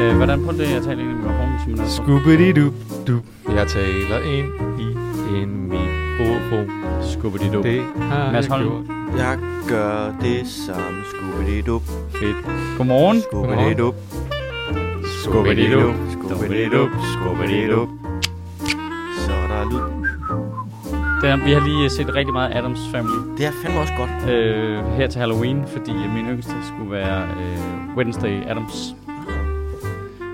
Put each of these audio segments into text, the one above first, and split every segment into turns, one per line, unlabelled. Øh, hvordan prøver det, jeg taler ind i mikrofonen? Simon?
Skubbidi-dup, dup. Jeg taler ind i en mikrofon.
Skubber dit op.
Det
Mads
har Mads
Holm.
jeg gjort.
Jeg gør det samme. Skubbededup,
Fedt.
Godmorgen.
skubbededup, skubbededup, skubbededup, skubbededup. Så er der lyd.
Det er, vi har lige øh, set rigtig meget Adams Family
Det er fandme også godt.
øh, her til Halloween, fordi øh, min yngste skulle være øh, Wednesday Adams.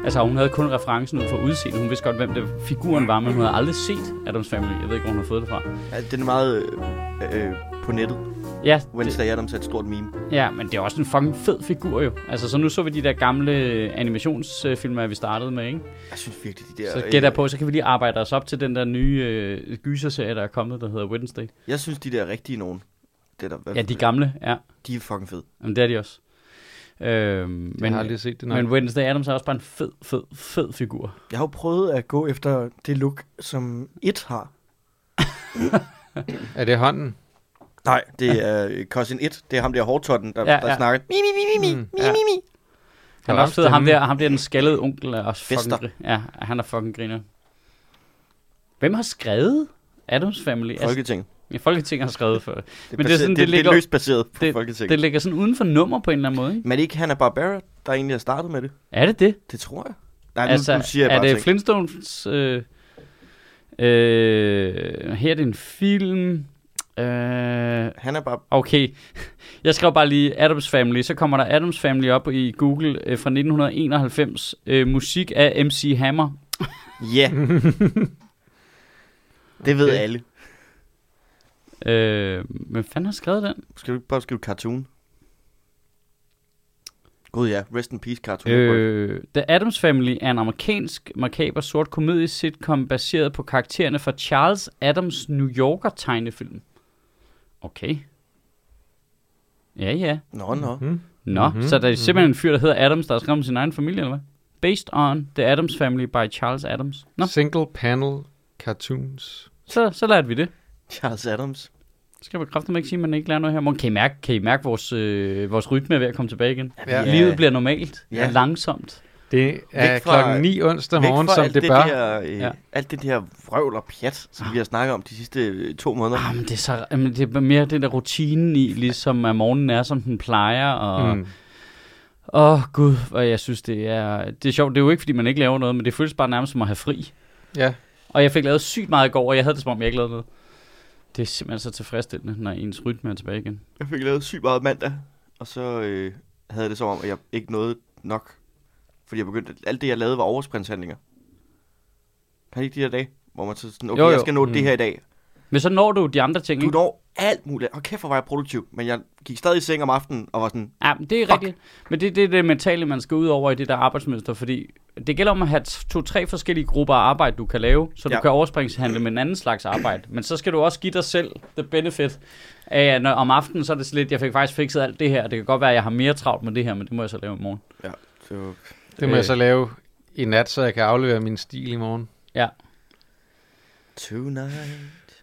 Altså, hun havde kun referencen ud for udseendet. Hun vidste godt, hvem det figuren var, men hun havde aldrig set Adams Family. Jeg ved ikke, hvor hun har fået det fra.
Ja, den er meget øh, øh, på nettet.
Ja, det,
Wednesday Adams er et stort meme.
ja, men det er også en fucking fed figur jo. Altså, så nu så vi de der gamle øh, animationsfilmer, vi startede med, ikke?
Jeg synes virkelig, de der...
Så
øh,
gætter jeg på, så kan vi lige arbejde os op til den der nye øh, gyserserie, der er kommet, der hedder Wednesday.
øh, Jeg synes, de der rigtige nogen. Det er der,
Ja, de gamle, ja.
de er fucking fede.
Jamen, det er de også. Øhm,
Men, jeg har aldrig set det nok.
Men Wednesday Adams er også bare en fed, fed, fed figur.
Jeg har jo prøvet at gå efter det look, som et har.
er det hånden?
Nej, det er øh, Cousin 1. Det er ham der hårdtotten, der,
Ja,
der
ja.
snakker. Mi, mi, mi, mi, mi,
Mm.
mi,
Ja.
mi, mi.
Han
Der
er
er
også fed.
også
Ham
stemme.
der, ham der den skaldede onkel er også fucking...
Fester.
gri- Ja, han er fucking griner. Hvem har skrevet Adams Family? Altså,
Folketinget.
ja, Folketinget har skrevet for det.
Det er,
Men det er
baseret-
sådan,
det,
det
det,
ligger-
er løst baseret på
Det
Folketinget.
ligger sådan uden for nummer på en eller anden måde, ikke?
Men er det ikke Hanna Barbera, der egentlig har startet med det?
Er det det?
Det tror jeg. Nej, nu, nu siger jeg
Altså, er
bare
det
ting.
Flintstones... Øh, øh, her er det en film... Øh,
Han er bare...
Okay, jeg skrev bare lige Adams Family, så kommer der Adams Family op i Google øh, fra 1991, øh, musik af MC Hammer.
Ja. Yeah. det ved
Okay.
alle.
Øh, hvem fanden har skrevet den?
Skal du ikke bare skrive cartoon? Gud ja, Rest in Peace Cartoon Network.
Øh, The Adams Family er en amerikansk, makaber sort komediesitcom baseret på karaktererne fra Charles Adams' New Yorker tegnefilm. Okay. Ja, ja.
Nå, nå.
Hmm?
Nå, mm-hmm,
Mhm,
så der er simpelthen en fyr, der hedder Adams, der har skrevet om sin egen familie, eller hvad? Based on The Adams Family by Charles Adams. Nå,
Single panel cartoons.
så, så lærte vi det.
Charles Adams.
Så Skal jeg bekræfte ikke sige, at man ikke lærer noget her? Morgen, kan I mærke, kan I mærke vores, øh, vores rytme er ved at komme tilbage igen?
Ja,
Ja.
Ja. Livet bliver normalt
Ja.
ja. langsomt.
Det er
Væk fra-
klokken 9 onsdag
Væk
morgen,
fra
som
alt
det
det
bør.
Der, øh,
Ja.
ja. Alt det der vrøvl og pjat, som vi har snakket om de sidste øh, to måneder.
Ah, men det, er så, jamen, det er mere den der rutinen i, ligesom at morgenen er, som den plejer. Og, åh mm.
Mm.
oh, gud, og jeg synes, det er, det er sjovt. Det er jo ikke, fordi man ikke laver noget, men det føles bare nærmest som at have fri.
Ja,
Og jeg fik lavet sygt meget i går, og jeg havde det som om, jeg ikke lavede noget. Det er simpelthen så tilfredsstillende, når ens rytme er tilbage igen.
Jeg fik lavet sygt meget mandag, og så øh, havde jeg det som om, at jeg ikke nåede nok. Fordi jeg begyndte, alt det jeg lavede var oversprintshandlinger. Kan I ikke de her dage? Hvor man så sådan, okay,
Jo, jo. Mm.
jo, jo. jeg skal nå
Mm.
det her i dag.
Men så når du de andre ting,
Du
ikke?
når alt muligt. Og kæft, hvor var jeg produktiv. Men jeg gik stadig i seng om aftenen og var sådan,
Ja, men det er
Fuck.
rigtigt. Men det, det er det mentale, man skal ud over i det der arbejdsmønster, fordi det gælder om at have to-tre forskellige grupper af arbejde, du kan lave, så du ja.
Ja.
kan overspringshandle med en anden slags arbejde. Men så skal du også give dig selv the benefit af, at når, om aftenen så er det sådan lidt, jeg fik faktisk fikset alt det her, og det kan godt være, at jeg har mere travlt med det her, men det må jeg så lave i morgen.
så
det må
Øh.
jeg så lave i nat, så jeg kan aflevere min stil i morgen.
Tonight.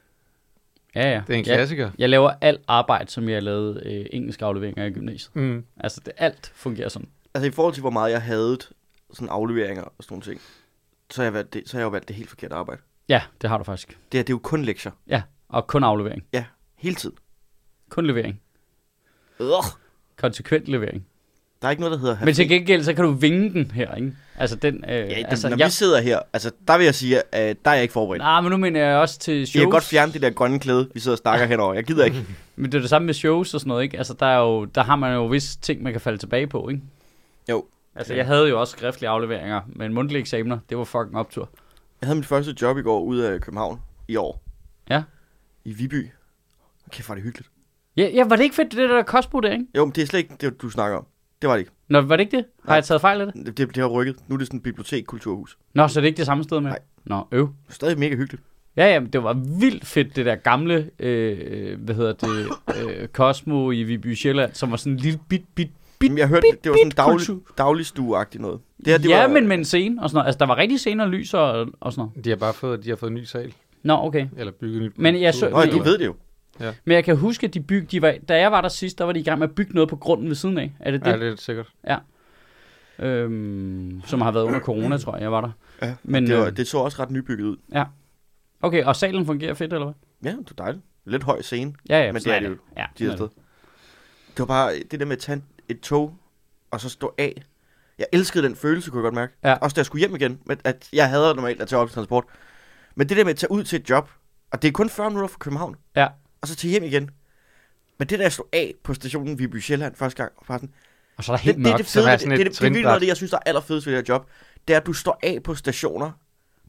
Ja, ja.
Det er
jeg,
en klassiker.
jeg laver alt arbejde, som jeg lavede øh, engelske afleveringer i gymnasiet.
Mm.
Altså, det, alt fungerer sådan.
Altså i forhold til, hvor meget jeg havde sådan afleveringer og sådan nogle ting, så har jeg, valgt det, så har jeg jo valgt det helt forkerte arbejde.
Ja, det har du faktisk.
Det her, det er jo kun lektier.
Ja, og kun aflevering.
Ja, hele tiden.
Kun levering.
Ugh.
Konsekvent levering.
Der er ikke noget, der hedder...
Men til gengæld, så kan du vinge den her, ikke? Altså den... Øh,
Ja, den,
altså,
altså, når jeg...
jeg,
vi sidder her, altså der vil jeg sige, at der er jeg ikke forberedt.
nej, men nu mener jeg også til shows.
Jeg kan godt fjerne det der grønne klæde, vi sidder og snakker henover. Jeg gider ikke.
Men det er det samme med shows og sådan noget, ikke? Altså der, er jo, der har man jo visse ting, man kan falde tilbage på, ikke?
Jo.
Altså jeg havde jo også skriftlige afleveringer, men mundtlige eksamener, det var fucking optur.
Jeg havde mit første job i går ude af København i år.
Ja.
I Viby. Kæft, hvor er det hyggeligt.
Ja, ja, var det ikke fedt, det der Cosmo der, ikke?
Jo, men det er slet ikke det, du snakker om. Det var det ikke.
Nå, var det ikke det? Har
Nej.
jeg taget fejl af det?
Det, det har rykket. Nu er det sådan et bibliotek, kulturhus.
Nå, så er det ikke det samme sted med?
Nej.
Nå, øv.
Stadig mega hyggeligt.
Ja, ja, men det var vildt fedt, det der gamle, øh, hvad hedder det, øh, Cosmo i Viby Sjælland, som var sådan en lille bit, bit, bit.
Jamen, jeg hørte, det, det var sådan
bit
daglig,
kultur.
dagligstueagtigt noget. Det her, det
ja,
var,
men med en scene og sådan noget. Altså, der var rigtig scener, lys og, og sådan noget.
De har bare fået, de har fået en ny sal,
Nå, okay.
eller bygget en ny
Men jeg så-
Nå, ja, du ved det jo.
Men jeg kan huske, at de byg, de var, da jeg var der sidst, der var de i gang med at bygge noget på grunden ved siden af. Er det
Ja,
det?
det er sikkert.
Ja. Øhm, som har været under corona, tror jeg, jeg var der.
Ja,
men,
Det, var,
øh,
det så også ret nybygget ud.
Okay, og salen fungerer fedt, eller hvad?
Ja, det er dejligt. Lidt høj scene,
Ja, ja,
Men
sådan
det er det
Ja,
de her
sådan er
sted. Det var bare det der med at tage et tog, og så stå af. Jeg elskede den følelse, kunne jeg godt mærke.
Ja.
Også da jeg skulle hjem igen, men at jeg hader normalt at tage offentlig transport. Men det der med at tage ud til et job, og det er kun 40 minutter fra København,
Ja.
og så tage hjem igen. Men det der, jeg stod af på stationen Viby Sjælland første gang, og bare sådan,
det. Og så er der
det,
helt
det, er
mørkt.
det
så
fede,
der er
det, det,
sådan
det,
et
det, det, det,
trinbræt.
det, jeg synes, der er allerfedest ved det her job, det er, at du står af på stationer,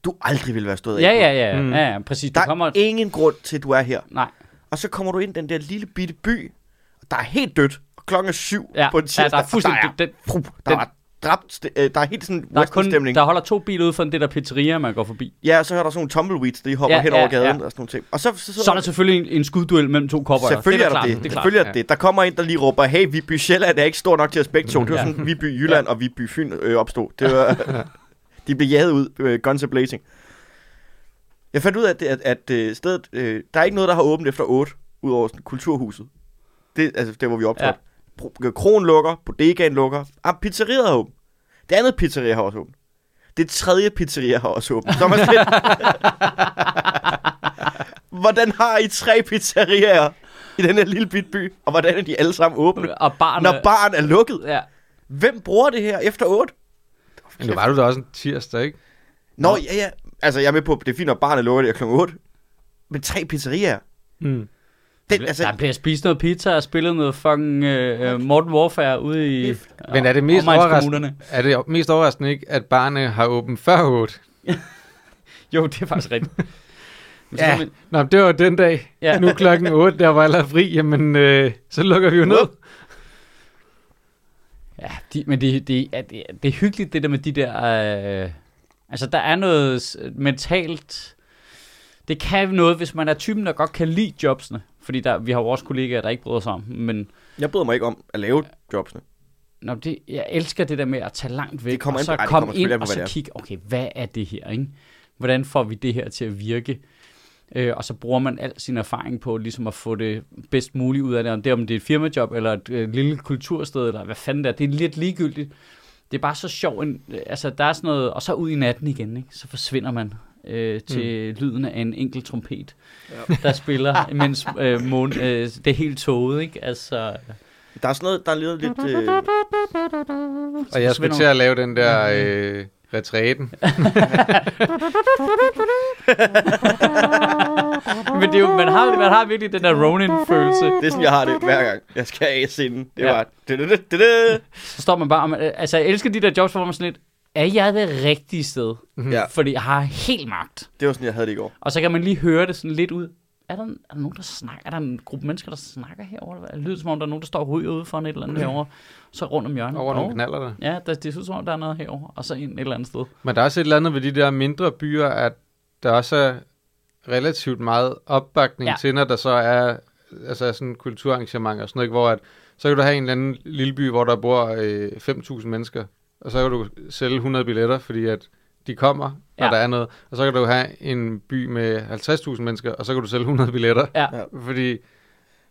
du aldrig ville være stået af
Ja,
på.
ja, ja,
Mm.
ja, ja, præcis.
Der
Du
er
kommer...
ingen grund til, at du er her.
Nej.
Og så kommer du ind i den der lille bitte by, og der er helt dødt, og klokken er syv
Ja,
på en
ja,
tirsdag,
der er fuldstændig...
og
Den,
der er, der
den-
er dræbt, st- øh, der er helt sådan
der, er kun,
western-stemning.
der holder to biler ude for det der pizzeria, man går forbi.
Ja, og så hører der sådan nogle tumbleweeds, der lige hopper
Ja,
hen
ja,
over gaden
ja.
og sådan nogle ting. Og så, så,
Så er der selvfølgelig en, en skudduel mellem to kopper.
Selvfølgelig er der
klart,
det.
Det er klart.
Selvfølgelig er der det. Der kommer en, der lige råber, hey, Viby Sjælland er ikke stor nok til at spække to. Det var
Ja.
sådan, Viby Jylland og Viby Fyn øh, opstod. Det var, de blev jaget ud, øh, guns a blazing. Jeg fandt ud af, at, at, at øh, stedet, øh, der er ikke noget, der har åbent efter 8, udover sådan, kulturhuset. Det, altså, der hvor vi optrådte. Ja. Kron lukker, bodegaen lukker. Ah, pizzeriet har åbent. Det andet pizzeria har også åbent. Det tredje pizzeria har også åbent. Så er man sådan lidt- Hvordan har I tre pizzeriaer i den her lille bit by? Og hvordan er de alle sammen åbne?
Og barnet...
Når baren er lukket.
Ja.
Hvem bruger det her efter 8?
Men nu var du der også en tirsdag, ikke?
Nå, ja, ja. Altså, jeg er med på, at det er fint, når baren er lukket der kl. 8. Men tre pizzeriaer.
Mm.
Den, altså,
der bliver spist noget pizza og spillet noget fucking øh, øh, Modern Warfare ude i... øh,
Men er det mest overraskende, er det mest overraskende ikke, at barne har åbent før 8?
Jo, det er faktisk rigtigt. Men så
Ja.
kan man-
Nå, men det var den dag.
Ja.
Ja. Nu er klokken 8, der var jeg allerede fri. Jamen, øh, så lukker vi jo ned.
Ja, de, men det, det, er, det, er- det er hyggeligt, det der med de der... Øh, altså, der er noget s- mentalt... Det kan noget, hvis man er typen, der godt kan lide jobsene. Fordi der, vi har jo også kollegaer, der ikke bryder sig om dem, Men
jeg bryder mig ikke om at lave jobsene.
nå, det, jeg elsker det der med at tage langt væk,
Det kommer
og
an
så
på- ej, det
komme
kommer
ind
selvfølgelig an på,
og
hvad
så
det er.
kigge, okay, hvad er det her, ikke? Hvordan får vi det her til at virke? Øh, og så bruger man al sin erfaring på ligesom at få det bedst muligt ud af det. Om det, er, om det er et firmajob, eller et øh, lille kultursted, eller hvad fanden det er. Det er lidt ligegyldigt. Det er bare så sjovt. En, øh, altså, der er sådan noget, og så ud i natten igen, ikke? så forsvinder man øh, til
Hmm.
mm. lyden af en enkelt trompet, ja. der spiller, mens øh, mån, øh, det er helt tåget, ikke? Altså,
Der er sådan noget, der lyder lidt... Øh,
Og jeg skulle til at lave den der øh, retræten.
Men det er jo, man, har, man har virkelig den der Ronin-følelse.
det er sådan, jeg har det hver gang. Jeg skal af scenen. Det
Ja.
var... Ja.
Så står man bare, og man, altså jeg elsker de der jobs, hvor man sådan lidt, er jeg det rigtige sted?
Ja.
Fordi jeg har helt magt.
Det var sådan, jeg havde det i går.
Og så kan man lige høre det sådan lidt ud. Er der, er der nogen, der snakker? Er der en gruppe mennesker, der snakker herovre? eller hvad? Det lyder som om, der er nogen, der står og ryger ude foran et eller andet herovre. Så rundt om hjørnet.
Over nogle
Nå.
knaller der.
Ja, der, det ser ud som om, der er noget herovre. Og så ind et eller andet sted.
Men der er også et eller andet ved de der mindre byer, at der også er relativt meget opbakning
Ja.
ja. til, når der så er altså sådan kulturarrangementer og sådan noget, ikke? hvor at, så kan du have en eller anden lille by, hvor der bor øh, 5.000 mennesker, og så kan du sælge 100 billetter, fordi at de kommer,
Ja.
når ja. der er noget. Og så kan du have en by med 50.000 mennesker, og så kan du sælge 100 billetter,
Ja.
Ja.
fordi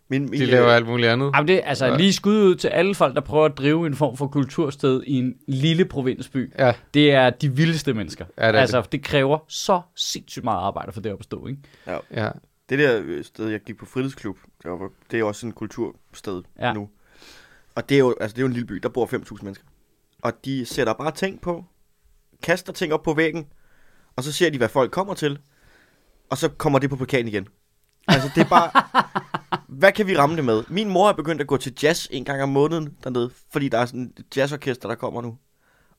Min, min,
de
øh,
laver alt muligt andet.
Jamen det, er altså
Ja.
lige skud ud til alle folk, der prøver at drive en form for kultursted i en lille provinsby.
Ja,
Det er de vildeste mennesker.
Ja, det er
altså, det. kræver så sindssygt meget arbejde for det at bestå, ikke?
ja.
Det der øh, sted, jeg gik på fritidsklub, der var- det er også sådan et kultursted
Ja.
ja. nu. Og det er, jo, altså, det er jo en lille by, der bor 5.000 mennesker. Og de sætter bare ting på, kaster ting op på væggen, og så ser de, hvad folk kommer til, og så kommer det på plakaten igen. Altså det er bare, hvad kan vi ramme det med? Min mor er begyndt at gå til jazz en gang om måneden dernede, fordi der er sådan et jazzorkester, der kommer nu.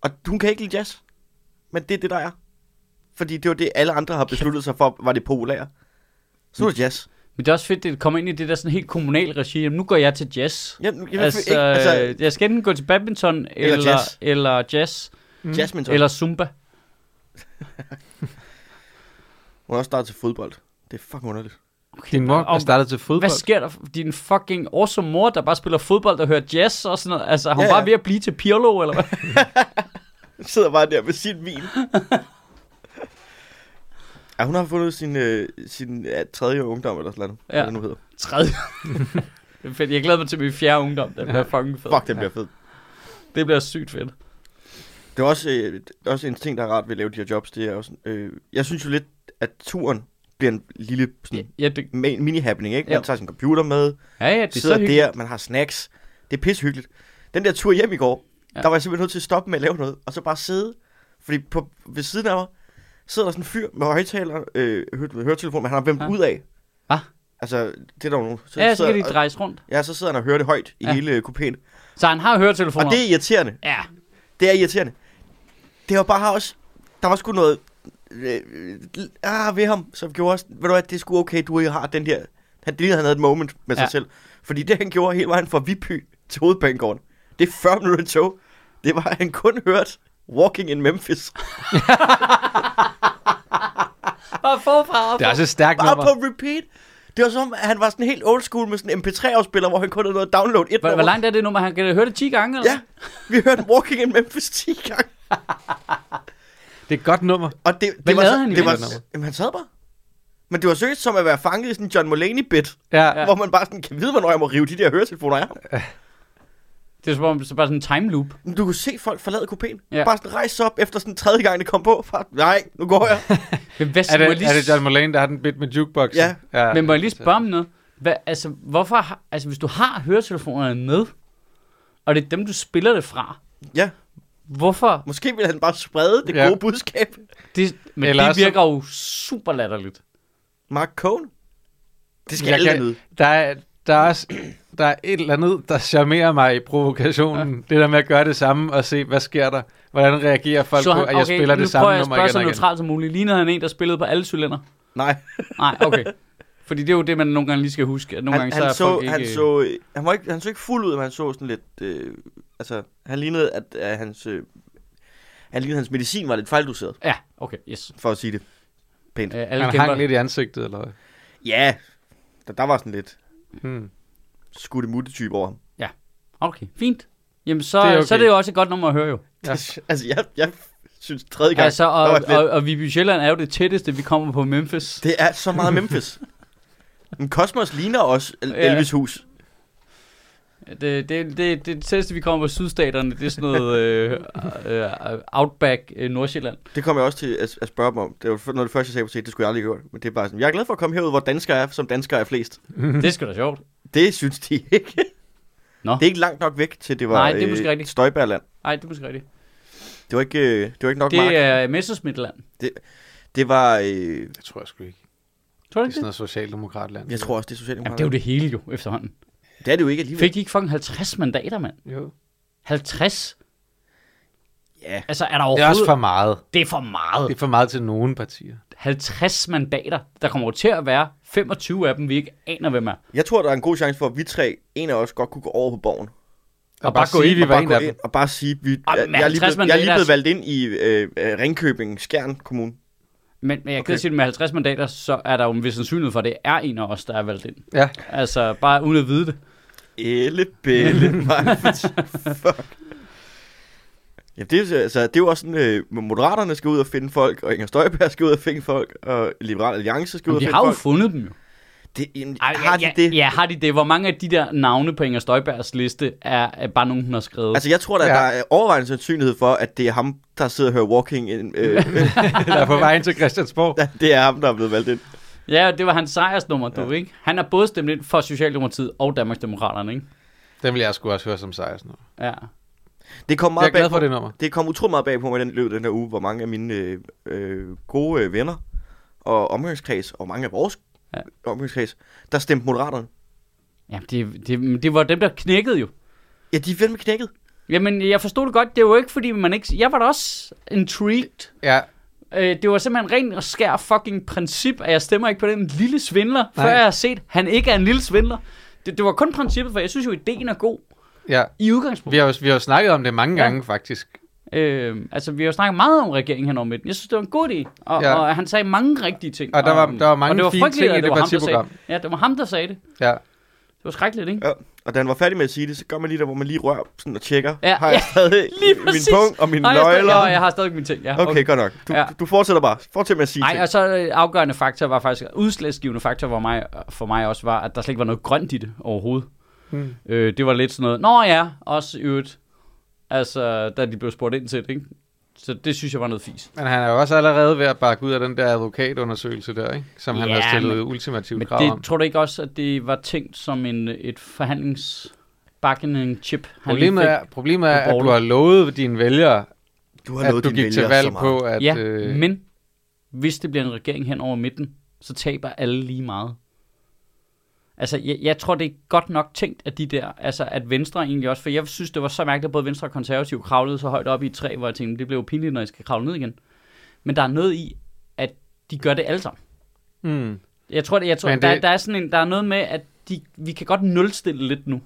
Og hun kan ikke lide jazz, men det er det, der er. Fordi det var det, alle andre har besluttet sig for, var det populære. Så nu er det jazz.
Men det er også fedt, at komme ind i det der sådan helt kommunal regi. Jamen, nu går jeg til jazz.
Ja, jeg, jeg,
Altså,
ikke, altså,
jeg skal enten gå til badminton, eller, eller jazz,
jazz.
eller, jazz,
Jasmine,
hmm. eller
eller...
zumba.
hun er også startet til fodbold. Det er fucking underligt.
Okay,
Din mor er
og
startet til fodbold.
hvad sker der? Din fucking awesome mor, der bare spiller fodbold og hører jazz og sådan noget. Altså, er hun ja,
Ja,
ja.
ja.
bare ved at blive til Pirlo, eller hvad?
Hun sidder bare der med sin vin. ja, hun har fundet sin, øh, sin ja, tredje ungdom, eller sådan noget.
Ja.
Ja. Hvad det nu hedder.
Tredje. Det er fedt. Jeg glæder mig til min fjerde ungdom. Det bliver fucking fedt.
Fuck, den bliver Mm. fed.
Det bliver sygt fedt.
Det er også, øh, det er også en ting, der er rart ved at lave de her jobs. Det er også, øh, jeg synes jo lidt, at turen bliver en lille sådan,
Ja, det,
ma- mini-happening, ikke?
Ja.
Man tager sin computer med,
ja, ja, det er så
sidder
hyggeligt.
der, man har snacks. Det er pissehyggeligt. Den der tur hjem i går,
Ja.
ja. der var jeg simpelthen nødt til at stoppe med at lave noget, og så bare sidde. Fordi på, ved siden af mig sidder der sådan en fyr med højtaler, øh, hø- høretelefon, men han har vendt
Ja.
ja. ud af.
Hva?
Altså, det er der jo nogen. Så
Ja, så kan
sidder-
de drejes rundt.
Ja, så sidder han og hører det højt i
Ja.
ja. hele øh, kupéen.
Så han har høretelefoner.
Og det er irriterende.
Ja,
Det er irriterende. Det var bare også... Der var sgu noget... Øh, øh, ah, ved ham, som gjorde også... Ved du hvad, det er sgu okay, du har den der... Han det, han havde et moment med sig
Ja.
selv. Fordi det, han gjorde hele vejen fra Vipy til hovedbanegården, det er 40 minutter tog. Det var, at han kun hørt Walking in Memphis.
bare forfra.
Det er også
altså-
et stærkt
Bare
nummer.
på repeat. Det var som, om, at han var sådan helt old school med sådan en MP3-afspiller, hvor han kun havde noget at download et
Hvor, hvor
nummer.
langt er det nummer? Han kan høre det 10 gange, eller?
Ja, vi hørte Walking in Memphis 10 gange.
Det er et godt nummer.
Og det, det
Hvad
var,
lavede
så-
han i
det var,
Vietnam?
jamen, han sad bare. Men det var seriøst som at være fanget i sådan en John Mulaney-bit,
Ja.
Ja.
ja. hvor man bare sådan kan vide, hvornår jeg må rive de der høretelefoner af.
Det er som om, så bare sådan en time loop.
Men du kunne se folk forlade kupéen.
Ja.
Ja. Bare sådan rejse sig op efter sådan tredje gang, det kom på. Bare, nej, nu går jeg.
Men hvad
Er det,
må jeg lige,
er det John Mulaney, der har den bit med jukeboxen?
Ja.
ja.
Men må jeg lige spørge om noget? Hvad, altså, hvorfor, har- altså, hvis du har høretelefonerne med, og det er dem, du spiller det fra,
ja,
hvorfor?
måske ville han bare sprede det
Ja.
ja. gode budskab.
Det, men
Eller
Eller det
også-
virker jo super latterligt.
Mark Cohn. Det skal
Jeg
jeg alle
kan-
nyde.
Der er, der, er også, der er et eller andet, der charmerer mig i provokationen. Det der med at gøre det samme og se, hvad sker der? Hvordan reagerer folk på, at jeg spiller
nu
det samme
prøver jeg at
nummer
spørge
igen
så
og igen?
neutralt som muligt. Ligner han en, der spillede på alle cylinder?
Nej,
Nej, okay. Fordi det er jo det, man nogle gange lige skal huske. At nogle
han,
gange, så er
han, så,
folk
han,
ikke...
så, øh, han, var ikke, han så ikke fuld ud, men han så sådan lidt... Øh, altså, han lignede, at, at hans, øh, han lignede, at hans medicin var lidt fejldoseret,
Ja, okay, yes.
for at sige det pænt.
Øh, alle
Han
kæmper.
hang lidt i ansigtet, eller hvad?
Ja, der, der var sådan lidt
Hmm.
skudte mutte type over ham.
Okay, fint. Jamen, så,
Det
det
er
okay. så er
okay.
det jo også et godt nummer at høre jo.
Ja.
altså, jeg, jeg synes tredje gang,
Altså, og,
der var lidt,
og, og, og Viby Sjælland er jo det tætteste, vi kommer på Memphis.
det er så meget Memphis. Men Cosmos ligner også El-
Ja.
Elvis hus.
Det, det, det, det, det tætteste, vi kommer på sydstaterne, det er sådan noget øh, øh, outback øh, Nordsjælland.
Det kom jeg også til at, at spørge dem om. Det var noget af det første, jeg sagde på set, det skulle jeg aldrig have gjort. Men det er bare sådan, jeg er glad for at komme herud, hvor danskere er, som danskere er flest.
Mhm.
Det er sgu da sjovt.
Det synes de ikke.
Nå.
Det er ikke langt nok væk til, det var øh,
Nej, det er måske rigtigt.
Støjbærland.
Nej, det er måske rigtigt.
Det var ikke, øh, det var ikke nok det,
Det
mark.
er Messersmidtland.
Det var, øh,
Det tror jeg sgu ikke.
Tror
Det
du
er
ikke
sådan
det?
noget socialdemokratland.
jeg tror også, det er
Jamen, det er jo
Socialdemokraterne.
det hele jo, efterhånden.
det er det jo ikke alligevel.
Fik de ikke fucking 50 mandater, mand?
Jo.
50?
Ja.
Altså, er der
Det er også
overhovedet...
for meget.
Det er for meget.
Det er for meget til nogen partier.
50 mandater. Der kommer jo til at være 25 af dem, vi ikke aner, hvem er.
Jeg tror, der er en god chance for, at vi tre, en af os, godt kunne gå over på borgen.
Og bare gå
sige,
ind
vi
og
var
bare
en
gå
af dem.
ind og bare sige, vi,
Ah,
jeg,
men
jeg, er lige
50
blevet, jeg er lige
mandater-
blevet valgt ind i øh, øh, Ringkøbing, Skjern Kommune.
Men, men jeg okay.
Okay.
kan sige, at med 50 mandater, så er der jo en vis sandsynlighed for, at det er en af os, der er valgt ind.
Ja.
Altså, bare uden at vide det.
Elle, bælle, mig. Fuck. Jamen, det, er, jo- altså, det er jo også sådan, øh, Moderaterne skal ud og finde folk, og Inger Støjberg skal ud og finde folk, og Liberal Alliance skal ud
Men
og
vi
finde
har jo
folk.
fundet dem jo.
Det, jamen,
Ej,
har de
ja,
det?
Ja, har de det? Hvor mange af de der navne på Inger Støjbergs liste er, er bare nogen, hun har skrevet? Altså,
Altså, jeg tror da,
Ja.
der er overvejende sandsynlighed for, at det er ham, der sidder og hører Walking. In, øh,
Der er på vej ind til Christiansborg.
det er ham, der er blevet valgt ind.
ja, det var hans sejrsnummer, du, ikke? Han er både stemt ind for Socialdemokratiet og Danmarksdemokraterne, ikke?
Den vil jeg sgu også høre som sejrs nu.
Ja.
Det kom
Jeg
meget
er glad
bag
for det nummer.
Det kom utrolig meget bag på mig i den løb den her uge, hvor mange af mine øh, øh, gode øh, venner og omgangskreds, og mange af vores
Ja.
ja. omgangskreds, der stemte Moderaterne.
Ja, det, det, det var dem, der knækkede jo.
Ja, de er fandme knækket.
Jamen, jeg forstod det godt. Det var jo ikke, fordi man ikke... Jeg var da også intrigued.
Ja,
Øh, det var simpelthen rent og skær fucking princip, at jeg stemmer ikke på den lille svindler, Nej.
Nej.
før jeg har set, han ikke er en lille svindler. Det, det var kun princippet, for jeg synes jo, ideen er god
Ja,
i udgangspunktet.
vi har, jo, vi har jo snakket om det mange
Ja.
gange, faktisk.
Øh, altså, vi har jo snakket meget om regeringen hen over midten. Jeg synes, det var en god idé, og, ja.
Ja.
og han sagde mange rigtige ting.
Og der var-
om-
der var mange
og det var
fine
frygteligt,
ting
at
i det
var ham, der sagde-
partiprogram.
Ja, det var ham, der sagde det.
Ja.
Det var skrækkeligt, ikke?
Ja. Og da han var færdig med at sige det, så gør man lige der, hvor man lige rører sådan og tjekker.
Ja,
Ja, har
ja,
jeg stadig
lige
min
præcis.
punkt og
Øh,
mine
Nå, jeg stadig-
nøgler?
Ja, jeg har stadig min ting, ja.
Okay, godt nok. Du,
Ja.
ja. du fortsætter bare. Fortsæt med at sige
Nej,
ting.
og så øh, afgørende faktor var faktisk, udslagsgivende faktor var mig, for mig også var, at der slet ikke var noget grønt i det overhovedet.
Mm.
Øh, det var lidt sådan noget, nå ja, også i øvrigt, altså, da de blev spurgt ind til det, ikke? Så det synes jeg var noget fis.
Men han er jo også allerede ved at bakke ud af den der advokatundersøgelse der, ikke? Som han
Ja,
har stillet
men-
ultimativt
Men
krav om.
det, tror du ikke også, at det var tænkt som en, et forhandlings bargaining chip, han lige
Problemet
fik?
er, problemet er,
på
at du
bordet.
har lovet dine vælgere,
du
at
nået
du
dine
gik til
vælgere så
valg
meget.
på, at...
ja,
øh,
men hvis det bliver en regering hen over midten, så taber alle lige meget. Altså, jeg, jeg tror, det er godt nok tænkt, at de der, altså at Venstre egentlig også, for jeg synes, det var så mærkeligt, at både Venstre og Konservative kravlede så højt op i et træ, hvor jeg tænkte, det blev jo pinligt, når jeg skal kravle ned igen. Men der er noget i, at de gør det alle sammen.
Mm.
Jeg tror, det, jeg tror
Men
det... der,
det-
der, er sådan en, der er noget med, at de, vi kan godt nulstille lidt nu.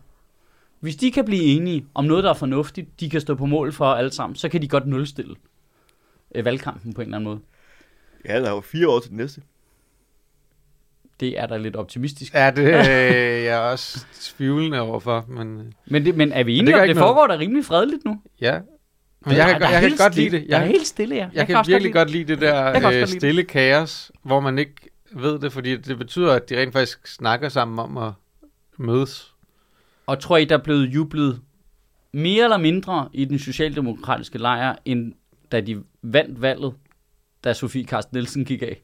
Hvis de kan blive enige om noget, der er fornuftigt, de kan stå på mål for alle sammen, så kan de godt nulstille øh, valgkampen på en eller anden måde.
Ja, der er jo fire år til den næste.
Det er da lidt optimistisk.
Ja, det øh, jeg er også tvivlende overfor, men... øh,
Men, det, men er vi
det
enige
gør
om, det
ikke
foregår da rimelig fredeligt nu?
Ja. Men jeg kan,
der
godt-
er
jeg kan
helt
godt
stille-
lide det.
Der er
Jeg,
helt stille, ja.
jeg kan
også
virkelig
lide
godt lide det der
Jeg kan også
øh,
godt lide
stille kaos, hvor man ikke ved det, fordi det betyder, at de rent faktisk snakker sammen om at mødes.
det. Og tror I, der er blevet jublet mere eller mindre i den socialdemokratiske lejr, end da de vandt valget, da Sofie Carsten Nielsen gik af?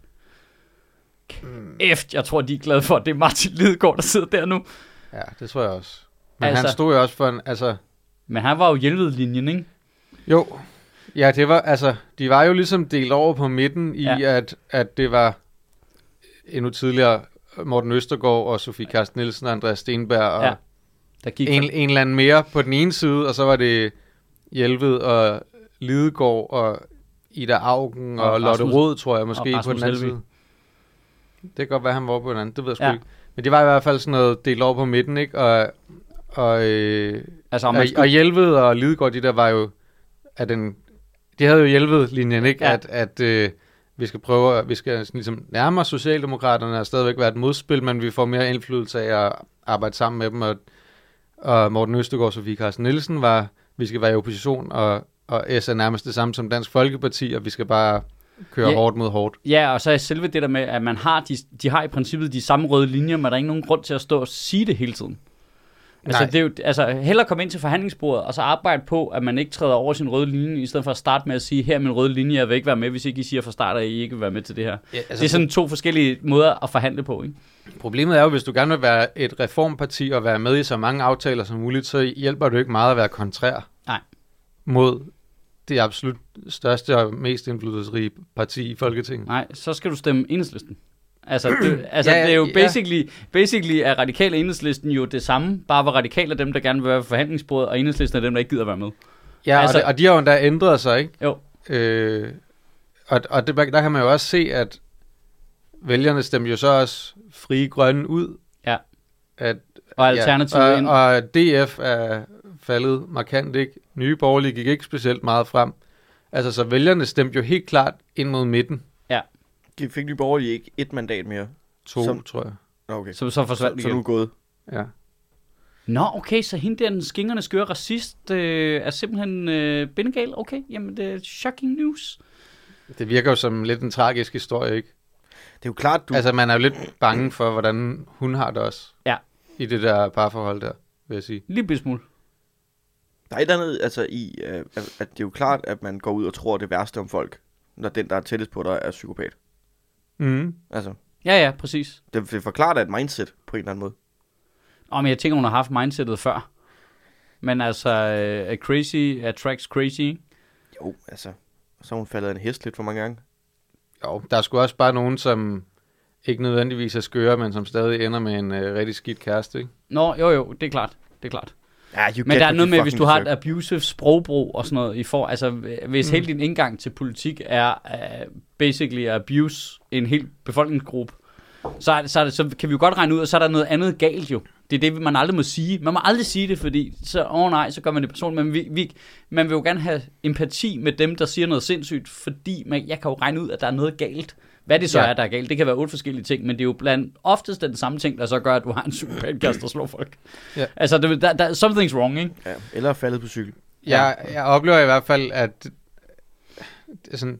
Kæft, jeg tror, de er glade for, at det er Martin Lidegaard, der sidder der nu.
Ja, det tror jeg også. Men altså,
Altså-
han stod jo også for en... Altså,
Men han var jo hjælpet linjen, ikke?
jo. Ja, det var... Altså, de var jo ligesom delt over på midten i,
Ja.
ja. at, at det var endnu tidligere Morten Østergaard og Sofie Karsten Nielsen og Andreas Stenberg og
Ja,
ja,
Der gik
en, en eller anden mere på den ene side, og så var det Hjelved og Lidegaard og Ida Augen og,
Og
og Lotte
Rasmus-
Rød, tror jeg måske,
og
på den
Rasmus
anden
Helveg.
side. Det kan godt være, han var på den anden, det ved jeg sgu
Ja.
ja. ikke. Men det var i hvert fald sådan noget delt over på midten, ikke? Og, og, øh,
altså, om
og,
man
og
skulle,
Hjelved og Lidegaard, de der var jo af den... De havde jo Hjelved-linjen, ikke?
Ja.
Ja. At, at øh, vi skal prøve, at- vi skal sådan ligesom nærme os Socialdemokraterne og stadigvæk være et modspil, men vi får mere indflydelse af at arbejde sammen med dem. Og, og Morten Østegård og Sofie Carsten Nielsen var, vi skal være i opposition, og, og S er nærmest det samme som Dansk Folkeparti, og vi skal bare køre
Ja.
ja. hårdt mod hårdt.
ja, og så er selve det der med, at man har de, de har i princippet de samme røde linjer, men der er ikke nogen grund til at stå og sige det hele tiden. Altså,
Nej.
det er jo, altså, hellere komme ind til forhandlingsbordet, og så arbejde på, at man ikke træder over sin røde linje, i stedet for at starte med at sige, her er min røde linje, jeg vil ikke være med, hvis ikke I siger fra start, at I ikke vil være med til det her.
Ja,
Altså, det er sådan to forskellige måder at forhandle på, ikke?
Problemet er jo, hvis du gerne vil være et reformparti og være med i så mange aftaler som muligt, så hjælper det jo ikke meget at være kontrær
Nej.
mod det absolut største og mest indflydelsesrige parti i Folketinget.
Nej, så skal du stemme enhedslisten. Altså, det, altså ja,
Ja, ja,
det er jo
ja.
basically, basically er radikale enhedslisten jo det samme, bare hvor radikale er dem, der gerne vil være ved forhandlingsbordet, og enhedslisten er dem, der ikke gider være med.
Ja,
Altså-
altså, og, de, og de har jo endda ændret sig, ikke?
Jo.
Øh, og og det, der kan man jo også se, at vælgerne stemte jo så også frie grønne ud.
Ja.
At,
Og alternativet
ja,
ind.
og, og DF er faldet markant, ikke? Nye borgerlige gik ikke specielt meget frem. Altså, så vælgerne stemte jo helt klart ind mod midten.
De fik Nye Borgerlige ikke et mandat mere.
To,
Som-
Som... tror jeg.
Nå, okay. Så,
Så, så
så,
forsvandt
så
det
nu
igen.
er gået.
Ja.
Nå, okay, så hende der, den skingerne skøre racist, øh, er simpelthen øh, bindegal. Okay, jamen det er shocking news.
Det virker jo som lidt en tragisk historie, ikke?
Det er jo klart,
Du...
du...
Altså, man er jo lidt bange for, hvordan hun har det også.
Ja.
I det der parforhold der, vil jeg sige.
En lille bitte smule.
Der er et eller andet altså, i, øh, at- at det er jo klart, at man går ud og tror det værste om folk, når den, der er tættest på dig, er psykopat.
Mm.
Altså,
Ja, ja, præcis.
det, det forklarer dig et mindset på en eller anden måde.
Åh, men jeg tænker, hun har haft mindsetet før. Men altså, øh, er crazy attracts crazy. ikke?
Jo, altså, så er hun faldet af en hest lidt for mange gange.
Jo, der er sgu også bare nogen, som ikke nødvendigvis er skøre, men som stadig ender med en øh, rigtig skidt kæreste, ikke?
Nå, jo, jo, det er klart. Det er klart.
Ja, you
Men
get
der er
what
noget
you
med, hvis
fucking
du har et
deserve.
abusive sprogbrug og sådan noget, I får, altså hvis mm. hele din indgang til politik er uh, basically at abuse en hel befolkningsgruppe, så, er det, så, er det, så kan vi jo godt regne ud, at så er der noget andet galt jo. Det er det, man aldrig må sige. Man må aldrig sige det, fordi så, åh oh nej, så gør man det personligt. Men vi, vi, man vil jo gerne have empati med dem, der siger noget sindssygt, fordi man, jeg kan jo regne ud, at der er noget galt. Hvad det så ja.
Ja.
er, der er galt, det kan være otte forskellige ting, men det er jo blandt oftest den samme ting, der så gør, at du har en psykopatkast, der slår folk.
Ja.
Altså, det, der, der, something's wrong, ikke?
Ja, eller er faldet på cykel.
Jeg, jeg oplever i hvert fald, at det er sådan,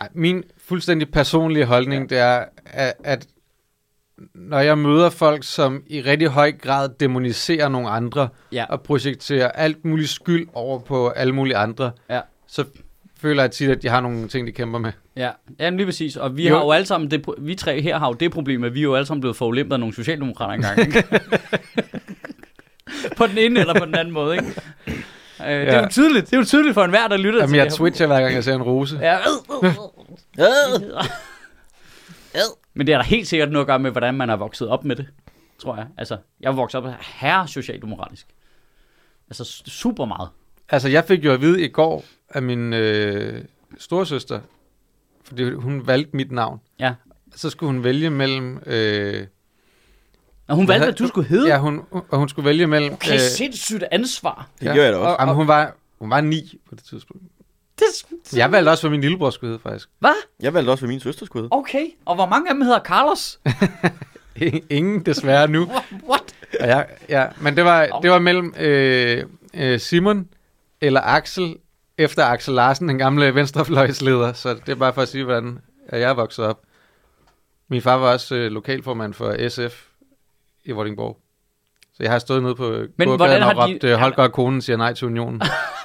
nej, min fuldstændig personlige holdning, ja. det er, at, at når jeg møder folk, som i rigtig høj grad demoniserer nogle andre,
Ja.
og projekterer alt muligt skyld over på alle mulige andre,
Ja.
så føler jeg tit, at de har nogle ting, de kæmper med.
Ja, jamen lige præcis. Og vi jo.
Jo.
har jo alle sammen, det, pro- vi tre her har jo det problem, at vi er jo alle sammen blevet forulæmpet af nogle socialdemokrater engang. Ikke? på den ene eller på den anden måde, ikke? Øh, ja. Det er
Ja.
jo tydeligt. Det er jo tydeligt for enhver, der lytter
Jamen,
til
jeg
det her.
twitcher hver gang, jeg ser en rose.
Ja.
Øh!
Men det er der helt sikkert noget at gøre med, hvordan man er vokset op med det, tror jeg. Altså, jeg er vokset op her socialdemokratisk. Altså, s- super meget.
Altså, jeg fik jo at vide i går af min øh, storesøster, fordi hun valgte mit navn.
Ja.
Så skulle hun vælge mellem... Øh,
Og hun
Hvad
valgte,
havde-
at du skulle hedde.
ja, Øh. hun, og hun skulle vælge mellem...
Okay, sindssygt ansvar.
Det gjorde jeg da også.
Og, jamen, hun var, hun var ni på det tidspunkt.
Det,
Jeg valgte også, hvad min lillebror skulle hedde, faktisk.
hvad?
Jeg valgte også, hvad min søster skulle hedde.
Okay, og hvor mange af dem hedder Carlos?
Ingen desværre nu.
What?
Og jeg, ja, men det var, det var mellem øh, øh, Simon eller Axel, efter Axel Larsen, den gamle venstrefløjsleder. Så det er bare for at sige, hvordan at jeg er vokset op. Min far var også øh, lokalformand for SF i Vordingborg. Så jeg har stået nede på
Men
men
hvordan
gågaden
har
og
de-
råbt, de... Holger og konen siger nej til unionen,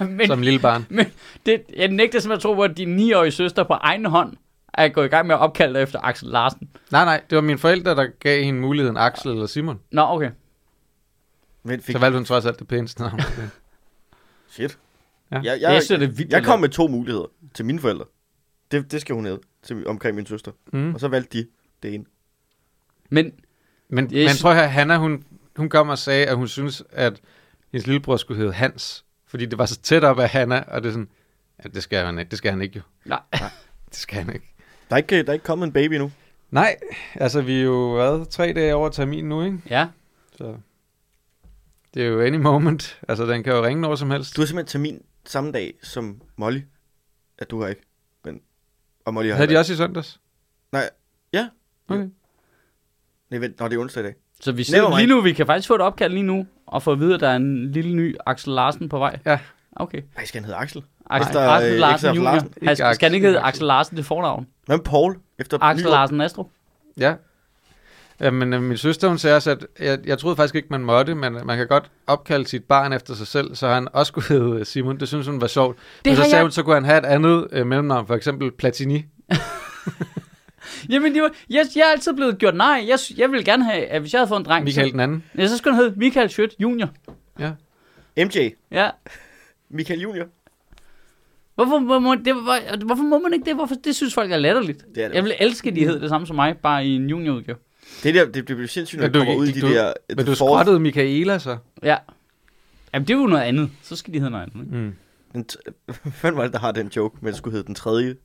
Men,
som lille barn.
men det, jeg nægter simpelthen at tro på, at din 9-årige søster på egen hånd er gået i gang med at opkalde dig efter Axel Larsen.
Nej, nej, det var mine forældre, der gav hende muligheden, Axel eller Simon.
Nå, okay.
Men fik...
Så valgte hun trods alt det pæneste navn.
Shit.
Ja.
Jeg,
Jeg synes, det er vildt,
jeg
eller-
kom med to muligheder til mine forældre. Det, det skal hun hedde til, omkring min søster.
Mm.
Og så valgte de det ene.
Men,
Men,
Jeg
men
sy-
prøv at høre, Hanna, hun, hun kom og sagde, at hun synes, at hendes lillebror skulle hedde Hans, fordi det var så tæt op af Hanna, og det er sådan, ja, det skal han ikke, det skal han ikke jo.
nej.
Det skal han ikke.
Der er ikke, der er ikke kommet en baby nu.
Nej, altså vi er jo, hvad, tre dage over termin nu, ikke?
Ja,
Så det er jo any moment. Altså, den kan jo ringe når som helst.
Du har simpelthen termin samme dag som Molly. Ja, du har ikke. Men, og Molly har
Havde de
heller
også i søndags?
ikke. Nej, ja.
Okay.
Nej, vent, nå, det er onsdag i dag.
så vi
Never
ser, lige
mind.
nu, vi kan faktisk få et opkald lige nu, og få at vide, at der er en lille ny Axel Larsen på vej.
Ja.
Okay.
Nej, skal han hedde Axel?
Axel,
der er, øh,
Axel
ikke
Larsen
Axel
Junior.
Larsen.
Han,
Ikke
skal han ikke
Axel.
hedde Axel Larsen til fornavn?
Hvad med Paul? Efter
Axel
Nyrup?
Larsen Astrup?
Ja. Ja, men øh, min søster, hun sagde også, at jeg, jeg troede faktisk ikke, man måtte, men øh, man kan godt opkalde sit barn efter sig selv, så han også kunne hedde øh, Simon. Det synes hun var sjovt. men så
har
sagde
jeg-
hun, så kunne han have et andet øh, mellemnavn, for eksempel Platini.
Jamen, det var, jeg, jeg er altid blevet gjort nej. Jeg, sy- jeg ville gerne have, at hvis jeg havde fået en dreng,
Michael
Så,
den anden.
ja, så skulle han hedde Michael Schødt Junior.
Ja.
MJ.
Ja.
Michael Junior.
Hvorfor må, må, det, hvor, hvorfor må man ikke det? Hvorfor, det synes folk er latterligt.
Det er det.
Jeg ville elske, at de hed det samme som mig, bare i en juniorudgave.
Det der, det, det bliver sindssygt, når
Men
du
du,
kommer ud i de
du,
der...
men du skrottede Michaela så.
Ja. Jamen, det er jo noget andet. Så skal de hedde noget andet. Ikke?
Mm.
Den t- Hvem var det, der har den joke, men det skulle hedde den tredje?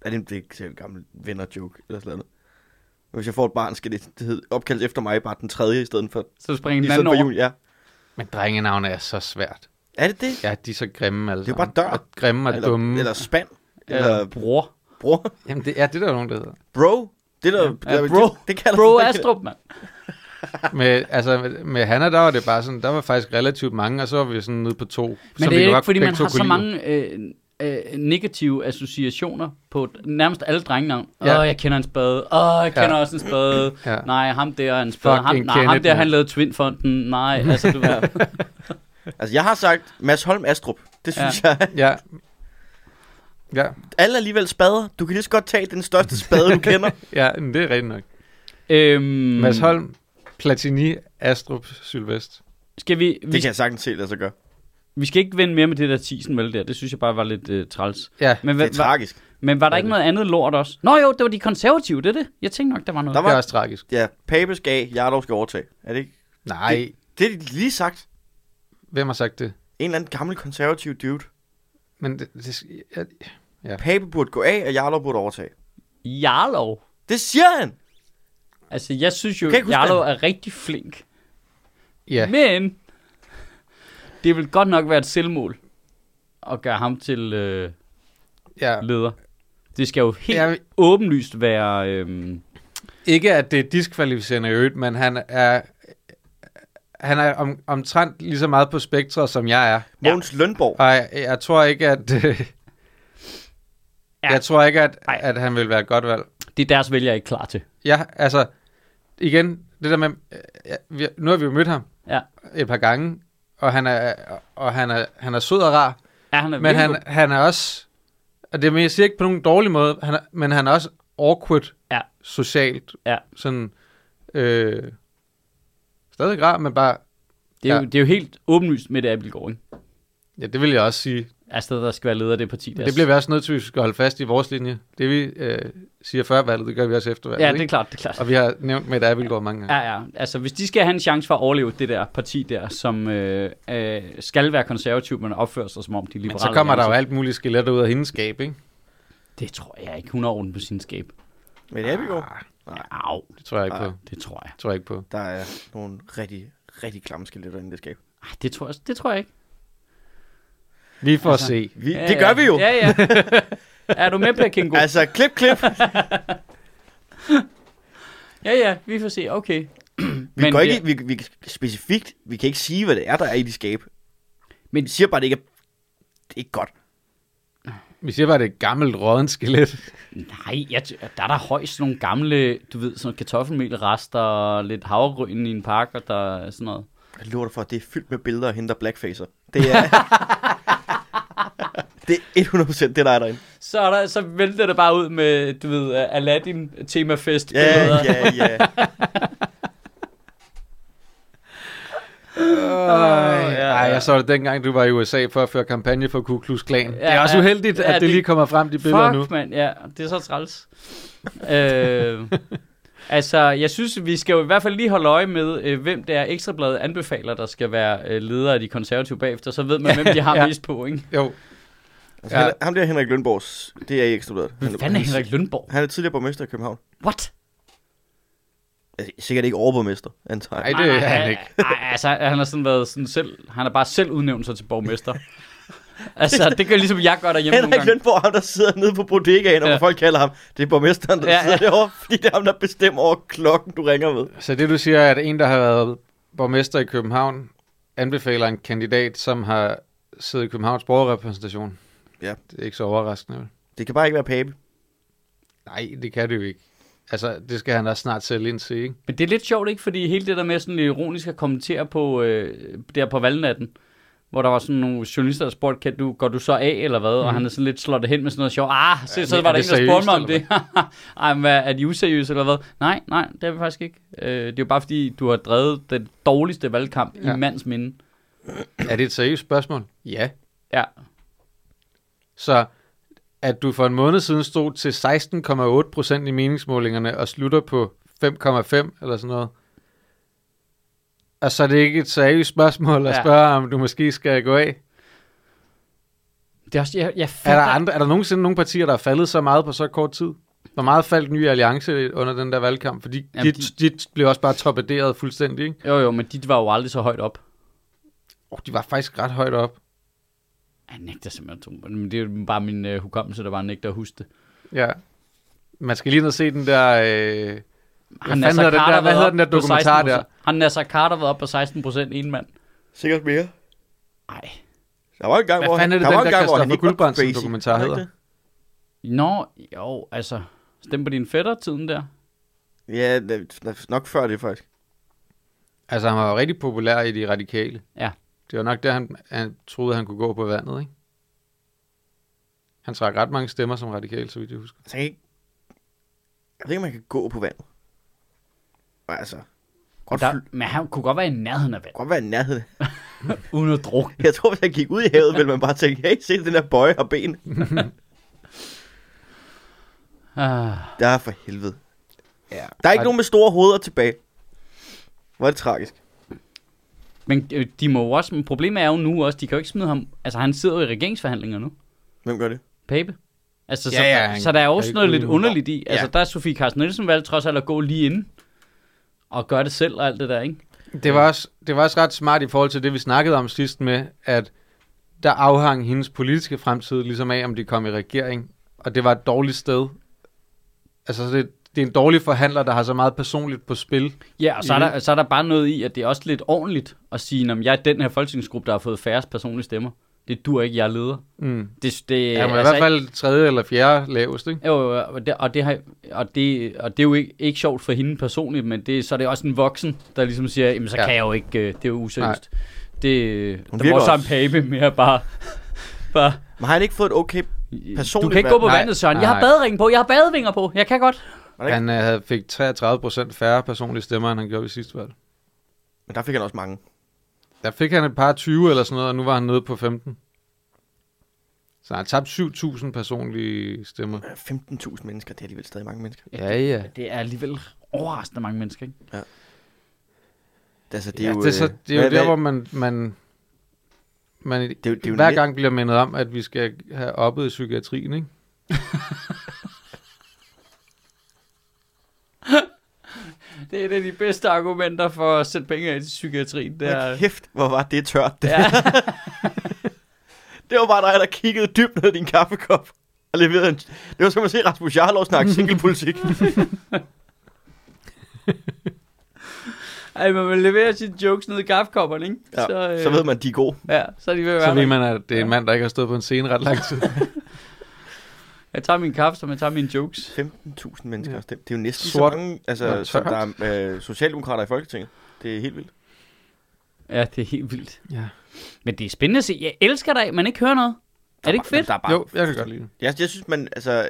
Er det en, det er ikke en gammel venner-joke, eller sådan noget? Men Hvis jeg får et barn, skal det, det hedde, opkaldes efter mig bare den tredje, i stedet for,
Så springer
i
den
stedet
anden
for
over.
juni. Ja.
Men drengenavne er så svært.
Er det det?
Ja, de er så grimme altså.
Det er jo bare dør.
Og grimme og
eller,
dumme.
eller spand?
Eller
Eller
Øh, bror.
bror?
Jamen, det, ja, det er der jo nogen, der hedder.
Bro? Det der,
Ja,
det,
bro.
det, det kalder
Bro
man-
Astrup, mand.
Med, altså, med, med Hanna, der var det bare sådan, der var faktisk relativt mange, og så var vi sådan nede på to.
Men
som
det
vi
er ikke,
godt
fordi
begge
man
to
har så
kunne lide.
mange øh, øh, negative associationer på nærmest alle drengenavn. Åh,
Ja.
oh, jeg kender en spade. Åh, oh, jeg kender
Ja.
også en spade.
Ja.
Nej, ham der er en spade. Ham,
Fucking
nej, ham
Kenneth,
der, han
mand.
lavede Twinfonden. Nej, altså, du ved.
Altså, jeg har sagt Mads Holm Astrup. Det synes ja. jeg.
Ja. Ja,
Alle alligevel spader. Du kan lige så godt tage den største spade, du kender.
ja men det er rigtigt nok.
øhm,
Mm. Mads Holm, Platini, Astrup, Sylvest.
Skal vi, vi,
Det kan jeg sagtens se, lade sig gøre.
vi skal ikke vende mere med det der tisen, vel der. Det synes jeg bare var lidt øh, træls.
Ja,
Men,
Det er
hvad, var,
tragisk.
men var der ikke noget andet lort også? Nå jo, det var de konservative, det er det. Jeg tænkte nok, der var noget.
Der
det er
var,
også tragisk.
ja, Pape skal af, Jarlov skal overtage. Er det ikke?
Nej,
Det er lige sagt.
Hvem har sagt det?
En eller anden gammel konservativ dude.
Men det, det jeg,
Pape burde gå af, og Jarlov burde overtage.
Jarlov.
Det siger han!
Altså, jeg synes jo,
Kan jeg ikke
at
huske
Jarlov er rigtig flink.
ja,
Men det vil godt nok være et selvmål at gøre ham til øh,
ja.
leder. Det skal jo helt
Jeg-
åbenlyst være... Øh,
Ikke at det er diskvalificerende i øvrigt, men han er, han er om, omtrent lige så meget på spektret, som jeg er.
Ja.
Mogens ja. Lønborg.
Og jeg, jeg tror ikke, at... Øh,
Ja.
ja. Jeg tror ikke, at,
Nej.
at han vil være et godt valg.
det er deres vælger ikke klar til.
Ja, altså, igen, det der med, øh, ja, vi, nu har vi jo mødt ham
Ja.
et par gange, og han er, og han er, han er sød og rar,
Er han er
men han, han er også, og det men jeg siger ikke på nogen dårlig måde, han er, men han er også awkward
Ja.
socialt,
Ja.
sådan, øh, stadig rar, men bare,
det, er jo,
ja.
det er jo helt åbenlyst med det Abelgaard, ikke?
ja, det vil jeg også sige,
Altså, der skal være leder af det parti.
yes. det bliver vi også nødt til, at vi skal holde fast i vores linje, det vi øh, siger før valget, det gør vi også efter valget,
Ja, det er
ikke?
klart, det er klart.
og vi har nævnt Mette Abelgaard mange gange.
Ja, ja. Altså, hvis de skal have en chance for at overleve det der parti der, som øh, øh, skal være konservativ, men opfører sig som om de er
Men
liberale. altså.
så kommer der jo
alliance.
alt muligt skeletter ud af hendes skab, ikke?
Det tror jeg ikke. Hun har orden på sin skab.
Men det er vi jo.
Au,
Det tror jeg ikke på.
det tror jeg.
Det tror jeg ikke på.
Der er nogle rigtig, rigtig klamme skeletter inde i det skab.
Ej, det tror jeg, det tror jeg ikke.
Vi får altså, se.
Vi, ja, det gør vi jo. Ja.
Ja, ja. er du med, Per Kingo? Altså...
Altså, klip, klip.
Ja, ja, vi får se. Okay.
Vi,
Men
går
det-
ikke, vi, vi, specifikt, vi kan ikke sige, hvad det er, der er i de skab.
Men-
Men vi siger bare, det ikke er, det er ikke godt.
Vi siger bare, det er et gammelt rådden skelet.
Nej, jeg, t- der er der højst nogle gamle, du ved, sådan kartoffelmelrester og lidt havregryn i en pakke, og der er sådan noget.
Jeg lover dig for, at det er fyldt med billeder af hende, der blackfacer. Det er... det er 100% det, der er derinde.
Så, er der, så vælter det bare ud med, du ved, Aladdin temafest.
Ja, ja, ja.
Ej,
ja.
Øh, Ej, jeg så det dengang, du var i USA for at føre kampagne for Ku Klux Klan. Ja, det er også
ja.
uheldigt,
Ja,
at det
det-
lige kommer frem, de billeder
Fuck,
nu.
mand, ja, det er så træls. øh, altså, jeg synes, vi skal jo i hvert fald lige holde øje med, øh, hvem det er Ekstrabladet anbefaler, der skal være øh, leder af de konservative bagefter, så ved man, hvem de har
Ja.
mest på, ikke?
Jo,
Altså,
Ja.
ja. Ham der Henrik Lønborgs, det er i Ekstrabladet.
Hvem fanden er Henrik Lønborg?
Han er tidligere borgmester i København.
What?
Altså, sikkert ikke overborgmester, antager
Ej,
jeg.
det er han ikke.
Nej, altså, han har sådan været sådan selv, han har bare selv udnævnt sig til borgmester. altså, det gør ligesom jeg gør derhjemme nogle
Henrik
gange.
Lønborg, ham der sidder nede på bodegaen, og
Ja.
ja. folk kalder ham, det er borgmesteren, der
Ja,
ja,
ja.
ja. sidder derovre, fordi det er ham, der bestemmer over klokken, du ringer ved.
så det du siger er, at en, der har været borgmester i København, anbefaler en kandidat, som har siddet i Københavns borgerrepræsentation.
Ja.
Det er ikke så overraskende. vel?
Det kan bare ikke være pape.
Nej, det kan det jo ikke. Altså, det skal han da snart sælge ind til, ikke?
Men det er lidt sjovt, ikke? Fordi hele det der med sådan lidt ironisk at kommentere på, øh, der på valgnatten, hvor der var sådan nogle journalister, der spurgte, kan du, går du så af eller hvad? Mm. Og han er sådan lidt slået det hen med sådan noget sjovt. Ah, se,
Ja,
så
men
var
er
der en,
det
der spurgte mig om det.
seriøst,
Ej, men hvad, er de useriøse eller hvad? Nej, nej, det er vi faktisk ikke. Øh, det er jo bare fordi, du har drevet den dårligste valgkamp ja.
Ja.
i mands minde.
Er det et seriøst spørgsmål? Ja.
Ja,
Så at du for en måned siden stod til 16,8 procent i meningsmålingerne og slutter på 5,5 eller sådan noget. Og så er det ikke et seriøst spørgsmål at
Ja.
spørge, om du måske skal gå af.
det er også, jeg, jeg
Er
fatter-
der, andre, er der nogensinde nogle partier, der er faldet så meget på så kort tid? Hvor meget faldt Nye Alliance under den der valgkamp? Fordi
Jamen,
Jamen, de, de blev også bare torpederet fuldstændig, ikke?
Jo, jo, men dit var jo aldrig så højt op.
Oh, de var faktisk ret højt op.
Jeg nægter simpelthen at tro på det, men det er jo bare min øh, hukommelse, der bare nægter at huske det.
Ja. Man skal lige ned og se den der... Øh...
Har
fanden
Nasser
hedder den
Carter
der- hvad
været
hedder
op
den der
på
dokumentar der?
16%? Har Nasser Carter været op på 16 procent en mand?
Sikkert mere.
Nej.
Der var en gang,
Hvad
hvor,
fanden er det,
der
den
var en
der
gang, hvor
Christoffer
han ikke var
Guldbrandsen
crazy.
dokumentar
Var det
hedder?
ikke
Nå, jo, altså. Stem på din fætter tiden der.
det? Ja, det- det- nok før det faktisk.
Altså, han var jo rigtig populær i de radikale.
Ja.
Det var nok der, han, han troede, han kunne gå på vandet, ikke? Han trak ret mange stemmer som radikal, så vidt jeg husker.
Altså, jeg, kan ikke... jeg ved ikke, om man kan gå på vandet. Altså, godt,
Der,
der...
men han kunne godt være i nærheden af vand,
godt være i nærheden.
uden at drukne.
Jeg tror, hvis jeg gik ud i havet, ville man bare tænke, hey, se den der bøje og ben.
Ah,
Der er for helvede.
Ja.
Der er ikke
Og-
nogen med store hoveder tilbage. Hvor er det tragisk.
Men øh, de må jo også, men problemet er jo nu også, de kan jo ikke smide ham, altså han sidder jo i regeringsforhandlinger nu,
Hvem gør det?
Pape. Altså, så,
Ja, ja,
så,
han
så der er
kan
også
ikke
noget lidt
uden-
underligt i. Altså,
Ja.
der er Sofie Carsten Nielsen valgt trods alt at gå lige inden og gøre det selv og alt det der, ikke?
Det var, også, det var også ret smart i forhold til det, vi snakkede om sidst med, at der afhang hendes politiske fremtid ligesom af, om de kom i regering. Og det var et dårligt sted. Altså, så det, det er en dårlig forhandler, der har så meget personligt på spil.
Ja, og så er, der, så er der bare noget i, at det er også lidt ordentligt at sige, at jeg er den her folketingsgruppe, der har fået færrest personlige stemmer. Det dur ikke, jeg er leder.
Mm.
Det, det, altså,
Ja, men i hvert fald tredje eller fjerde lavest, ikke?
Jo, jo, jo, og det, og det, har, og det, og det er jo ikke, ikke sjovt for hende personligt, men det, så er det også en voksen, der ligesom siger, jamen så ja.
Ja.
kan jeg jo ikke, øh, det er jo useriøst. Det, der
virker
må også en
også-
pape mere bare... bare
Men har han ikke fået et okay...
du
Personligt
kan ikke gå på
valg.
vandet, Søren.
Nej,
Jeg har
nej.
badering på. Jeg har badevinger på. Jeg kan godt.
Var det
Han øh, havde fik 33% færre personlige stemmer, end han gjorde ved sidste valg.
Men der fik han også mange.
Der fik han et par 20 eller sådan noget, og nu var han nede på 15. Så han har tabt 7.000 personlige stemmer.
15.000 mennesker, det er alligevel stadig mange mennesker.
Ja, ja.
Det er alligevel overraskende mange mennesker, ikke?
Det, altså, det er
Ja,
jo...
det er, så,
øh,
det er jo
hvad-
der,
hvad-
hvor man, man, man
Det er jo- det er jo
hver
net-
gang bliver mindet om, at vi skal have oppet i psykiatrien, ikke?
Det er et af de bedste argumenter for at sætte penge af til psykiatrien. Det
Hvor
er,
kæft, hvor var det tørt. Det,
ja,
det var bare dig, der kiggede dybt ned i din kaffekop. Og leverede en... Det var som at se Rasmus Jarlov snakke singlepolitik.
ej, man vil levere sine jokes ned i kaffekopperne, ikke?
Ja, så, øh... så ved man, de er gode.
Ja, så er de ved at være
Så
der.
ved man, at det er en mand, der ikke har stået på en scene ret lang tid.
Jeg tager min kaffe, som jeg tager mine jokes.
15.000 mennesker. Ja. Det er jo næsten
Sort.
så mange, altså,
Nå,
som der
tørt.
er øh, socialdemokrater i Folketinget. Det er helt vildt.
Ja, det er helt vildt.
ja.
Men det er spændende at se. Jeg elsker dig, man ikke hører noget. Er det ikke fedt?
Der er bare...
Jo, jeg kan godt lide det.
Jeg, jeg synes, man... Altså,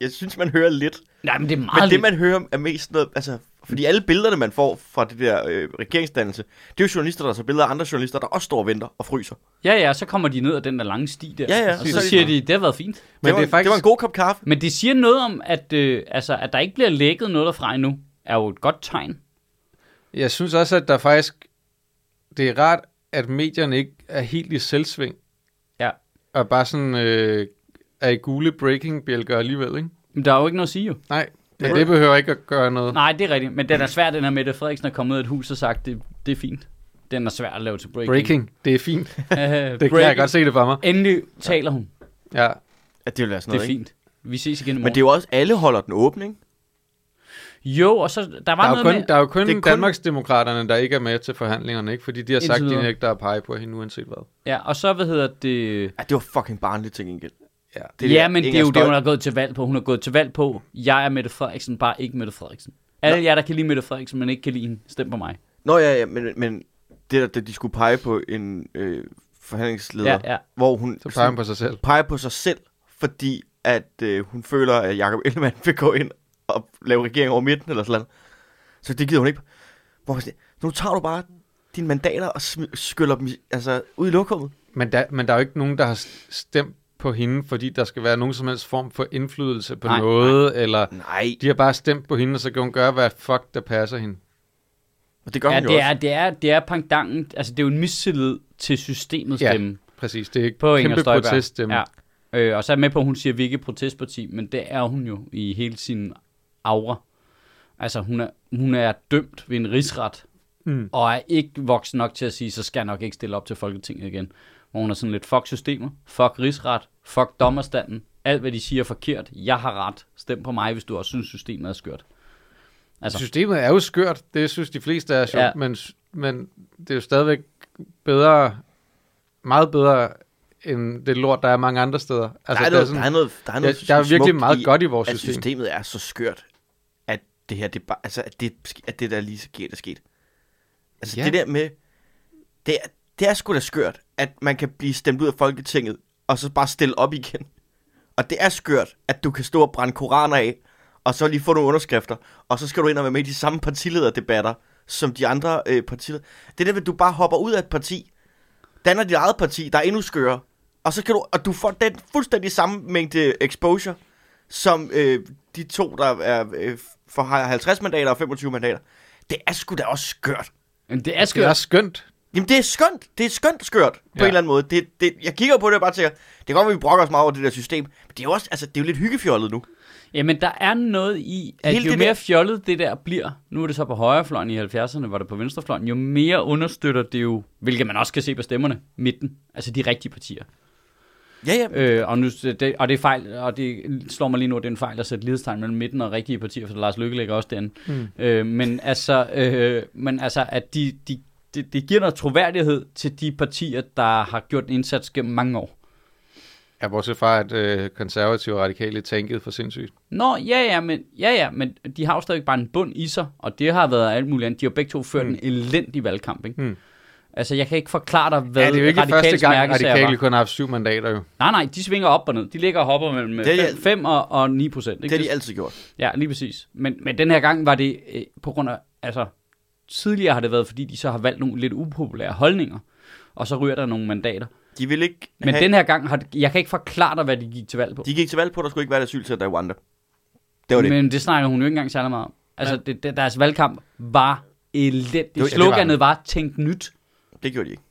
jeg synes, man hører lidt.
Nej, men det er
Men
meget
det, man hører, er mest noget... Altså, fordi alle billederne, man får fra det der øh, regeringsdannelse, det er jo journalister, der så billeder af andre journalister, der også står og venter og fryser.
Ja, ja, så kommer de ned ad den der lange sti der.
Ja, ja,
og
præcis.
så siger de, det har været fint.
Men
det, var,
det er faktisk...
det var en god kop kaffe.
Men det siger noget om, at, øh, altså, at der ikke bliver lækket noget derfra endnu, er jo et godt tegn.
Jeg synes også, at der faktisk... Det er rart, at medierne ikke er helt i selvsving.
Ja.
Og bare sådan øh, er i gule breaking-bjælker alligevel, ikke?
Men der er jo ikke noget at sige jo.
Nej, men det behøver ikke at gøre noget.
Nej, det er rigtigt. Men den er svær, den her Mette Frederiksen er kommet ud af et hus og sagt, det, det er fint. Den er svær at lave til breaking.
Breaking, det er fint.
Øh, breaking.
Det kan jeg godt se det for mig.
Endelig taler hun.
Ja.
At det vil være sådan
Det er
noget,
fint. Vi ses igen i morgen.
Ikke? Men det er jo også, alle holder den åben, ikke?
Jo, og så der var
Der er, jo
noget
kun,
med...
der er jo kun,
det er kun-
Danmarksdemokraterne, der ikke er med til forhandlingerne, ikke? Fordi de har sagt,
Indtil
at de
videre.
nægter at pege på hende, uanset hvad.
Ja, og så, hvad hedder det...
Ja, det var fucking barnligt til gengæld.
Ja.
det ja,
der
men det er
Inger
jo det, hun
Støj-
har gået til valg på. Hun har gået til valg på, jeg er Mette Frederiksen, bare ikke Mette Frederiksen. Alle jer, der kan lide Mette Frederiksen, men ikke kan lide hende, stem på mig.
Nå ja, ja, men, men det der, da de skulle pege på en øh, forhandlingsleder,
Ja, ja.
hvor hun
Så peger hun på sig selv.
peger på sig selv, fordi at øh, hun føler, at Jacob Ellemann vil gå ind og lave regering over midten eller sådan noget. Så det gider hun ikke. Hvor man siger, nu tager du bare dine mandater og sm- skyller dem i- altså, ud i lokummet.
Men der, men der er jo ikke nogen, der har s- stemt på hende, fordi der skal være nogen som helst form for indflydelse på
Nej,
nej, noget, nej. eller
Nej,
de har bare stemt på hende, og så kan hun gøre, hvad fuck, der passer hende.
og det gør
Ja,
hun jo
det
også.
er, det er, det er pangdangen. Altså, det er jo en mistillid til systemets
Ja.
stemme
Præcis, det er ikke
på Inger
kæmpe
Støjberg.
proteststemme.
Ja. Øh, og så er jeg med på, at hun siger, at vi ikke er et protestparti, men det er hun jo i hele sin aura. Altså, hun er, hun er dømt ved en rigsret,
Mm.
og er ikke voksen nok til at sige, så skal jeg nok ikke stille op til Folketinget igen. Hvor hun er sådan lidt, fuck systemet, fuck rigsret, fuck dommerstanden, alt hvad de siger er forkert, jeg har ret, stem på mig, hvis du også synes, systemet er skørt. Altså.
Altså. Systemet er jo skørt, det synes de fleste er sjovt,
Ja.
ja. men, s- men det er jo stadigvæk bedre, meget bedre, end det lort, der er mange andre steder.
Altså, der, er
det
noget, der er noget, der er noget
ja, der er virkelig
smukt
meget
i,
godt i vores
at
system.
systemet er så skørt, at det her, det er bare, altså, at det, sk- at det der lige sker, der sket. Altså, ja.
Ja.
det der med, det er, det er sgu da skørt, at man kan blive stemt ud af Folketinget, og så bare stille op igen. Og det er skørt, at du kan stå og brænde koraner af, og så lige få nogle underskrifter, og så skal du ind og være med i de samme partilederdebatter, som de andre øh, partiledere. Det er det, at du bare hopper ud af et parti, danner dit eget parti, der er endnu skøre, og så kan du, og du får den fuldstændig samme mængde exposure, som øh, de to, der er, øh, for har 50 mandater og 25 mandater. Det er sgu da også skørt.
Men det er
Det er
skørt.
skønt.
Jamen, det er skønt. Det er skønt skørt på
Ja.
en eller anden måde. Det, det, jeg kigger på det og bare tænker, det kan godt være, vi brokker os meget over det der system, men det er jo også, altså, det er jo lidt hyggefjollet nu.
Jamen, der er noget i, at
Hele
Hele jo
det
mere
der-
fjollet det der bliver, nu er det så på højrefløjen i 70'erne, var det på venstrefløjen, jo mere understøtter det jo, hvilket man også kan se på stemmerne, midten, altså de rigtige partier.
Ja, ja.
Øh, og, nu, det, og det er fejl, og det slår mig lige nu, at det er en fejl at sætte lidestegn mellem midten og rigtige partier, for Lars Løkke ligger også derinde. Mm. Øh, men, altså, øh, men altså, at de, de, det, det giver noget troværdighed til de partier, der har gjort en indsats gennem mange år.
Ja, bortset fra, at øh, konservative og radikale tænkede for sindssygt.
Nå, ja ja, men, ja, ja, men de har jo stadigvæk bare en bund i sig, og det har været alt muligt andet. De har jo begge to ført mm. en elendig valgvalgkamp, ikke?
Mm.
Altså, jeg kan ikke forklare dig, hvad
ja, det er jo ikke
radikales
første gang,
mærkesager Mm, var.
radikale kun har haft syv mandater jo.
Nej, nej, de svinger op og ned. De ligger og hopper mellem
Det er de
5 og, og 9 procent.
Det har de altid gjort.
Ja, lige præcis. Men, men den her gang var det øh, på grund af, altså tidligere har det været, fordi de så har valgt nogle lidt upopulære holdninger, og så ryger der nogle mandater.
De vil ikke
Men
have,
den her gang, har, det- jeg kan ikke forklare dig, hvad de gik til valg på.
de gik til valg på, at der skulle ikke være et asylcenter i Rwanda. Det var det.
Men det snakker hun jo ikke engang særlig meget om. Altså, ja. det, det, deres valgkamp var elendigt. Jo,
var- ja, det var
sloganet
den.
var, tænk nyt.
Det gjorde de ikke.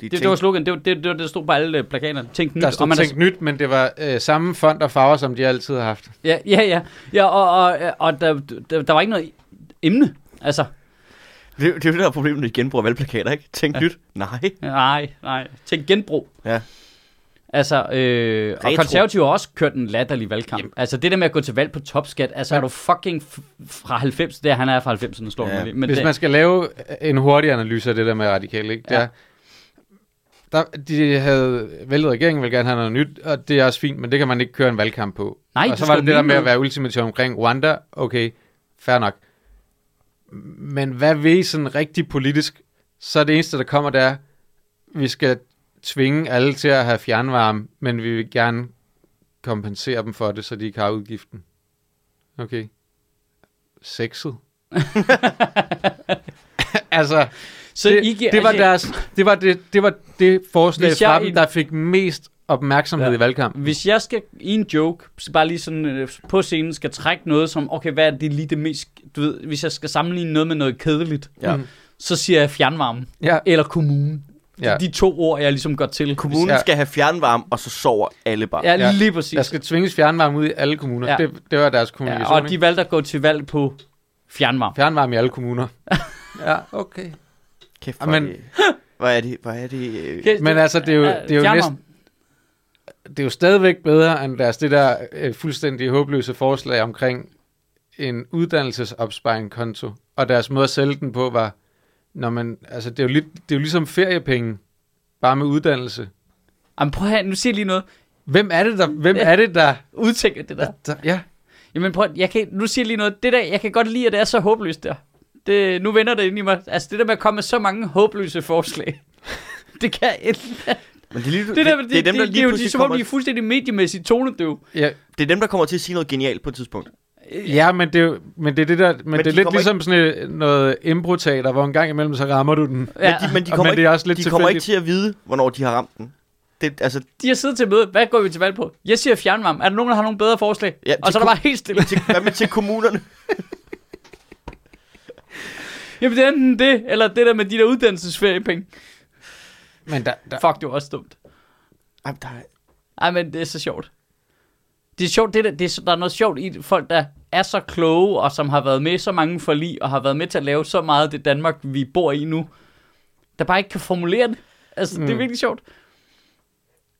De
Det, det var sloganet, det, var- det, det, var det, der stod på alle øh, plakaterne. Tænk nyt.
Der stod
man er-
tænkt nyt, men det var øh, samme fond og farver, som de altid har haft.
Ja, ja, ja. ja og, og, og der, der, der var ikke noget emne. Altså,
det, er jo- det er jo det, der er problemet, når de genbruger valgplakater, ikke? Tænk ja. nyt. Nej.
Nej, nej. Tænk genbrug.
Ja.
Altså, øh, og
Retro.
konservative har også kørt en latterlig valgkamp. Jamen. Altså, det der med at gå til valg på topskat, altså, er du fucking f- fra 90, det er, han er fra 90'erne, slår
Ja.
ja. men
Hvis
det,
man skal lave øh, en hurtig analyse af det der med radikale, ikke? Det
Ja.
er, der, de havde væltet regeringen, vil gerne have noget nyt, og det er også fint, men det kan man ikke køre en valgkamp på.
Nej, du
og så
skal
var
jo
det det der
mene
med at
noget.
være ultimativ omkring Rwanda, okay, fair nok. Men hvad ved I sådan rigtig politisk? Så det eneste, der kommer, det er, vi skal tvinge alle til at have fjernvarme, men vi vil gerne kompensere dem for det, så de ikke har udgiften. Okay. Sexet. altså,
Så
det,
I giver-
det, var
altså-
deres, det, var det, det var det forslag
Hvis jeg
fra
i-
dem, der fik mest opmærksomhed
Ja.
ja. i valgkampen.
Hvis jeg skal i en joke, så bare lige sådan øh, på scenen, skal trække noget som, okay, hvad er det lige det mest, du ved, hvis jeg skal sammenligne noget med noget kedeligt,
Ja.
Mhm.
så siger jeg fjernvarme
Ja,
eller kommune. Ja.
ja.
De to ord, jeg ligesom går til.
Kommunen
Ja.
skal have fjernvarme, og så sover alle bare. Ja.
Ja,
Ja.
lige præcis.
Der skal ligesom, tvinges fjernvarme ud i alle kommuner.
Ja.
Ja. Det, det var deres
ja,
kommunikation.
og de valgte at gå til valg på fjernvarme.
Fjernvarme i alle kommuner. ja, okay.
Kæft, hvor,
Amen.
er det, hvor er det... Hvor er det... øh,
Okay,
Men altså, det er jo- det er jo
fjernvarme.
næsten- Det er jo stadigvæk bedre end deres det der øh, fuldstændig håbløse forslag omkring en uddannelsesopsparing konto. Og deres måde at sælge den på var, når man, altså det er, jo lidt, det er jo ligesom feriepenge, bare med uddannelse.
Jamen prøv at høre, nu siger jeg lige noget.
Hvem er det, der... Hvem
Ja.
er det, der,
Udtænker det der.
der ja.
Jamen prøv at, jeg kan, nu siger jeg lige noget. Det der, jeg kan godt lide, at det er så håbløst der. Det, nu vender det ind i mig. Altså det der med at komme med så mange håbløse forslag. det kan
Men det, er lige,
det, der, det, det,
er dem, der
det,
lige
er jo de,
pludselig
som om
kommer,
de er fuldstændig mediemæssigt tonedøv.
ja.
det er dem, der kommer til at sige noget genialt på et tidspunkt.
Ja, men det, er jo- men det er det der, men, men det
de
er lidt
kommer
ligesom sådan et, noget improteater, hvor en gang imellem så rammer du den.
Ja,
Men de,
de,
men de
Og-
kommer,
men det er
ikke,
også lidt
de kommer ikke
tilfældigt.
til at vide, hvornår de har ramt den. Det, altså,
de har siddet til møde. Hvad går vi til valg på? Jeg siger fjernvarme. Er der nogen, der har nogle bedre forslag?
Ja,
og
de
så er der
kunne-
bare helt stille.
til, hvad med til kommunerne?
Jamen det er enten det, eller det der med de der uddannelsesferiepenge.
Men der, der,
Fuck, det var også dumt.
Jamen, der er,
Ej, men det er så sjovt. Det er sjovt, det der, det er, så- der er noget sjovt i det. folk, der er så kloge, og som har været med i så mange forlig, og har været med til at lave så meget af det Danmark, vi bor i nu, der bare ikke kan formulere det. Altså, mm. det er
Mm.
virkelig sjovt.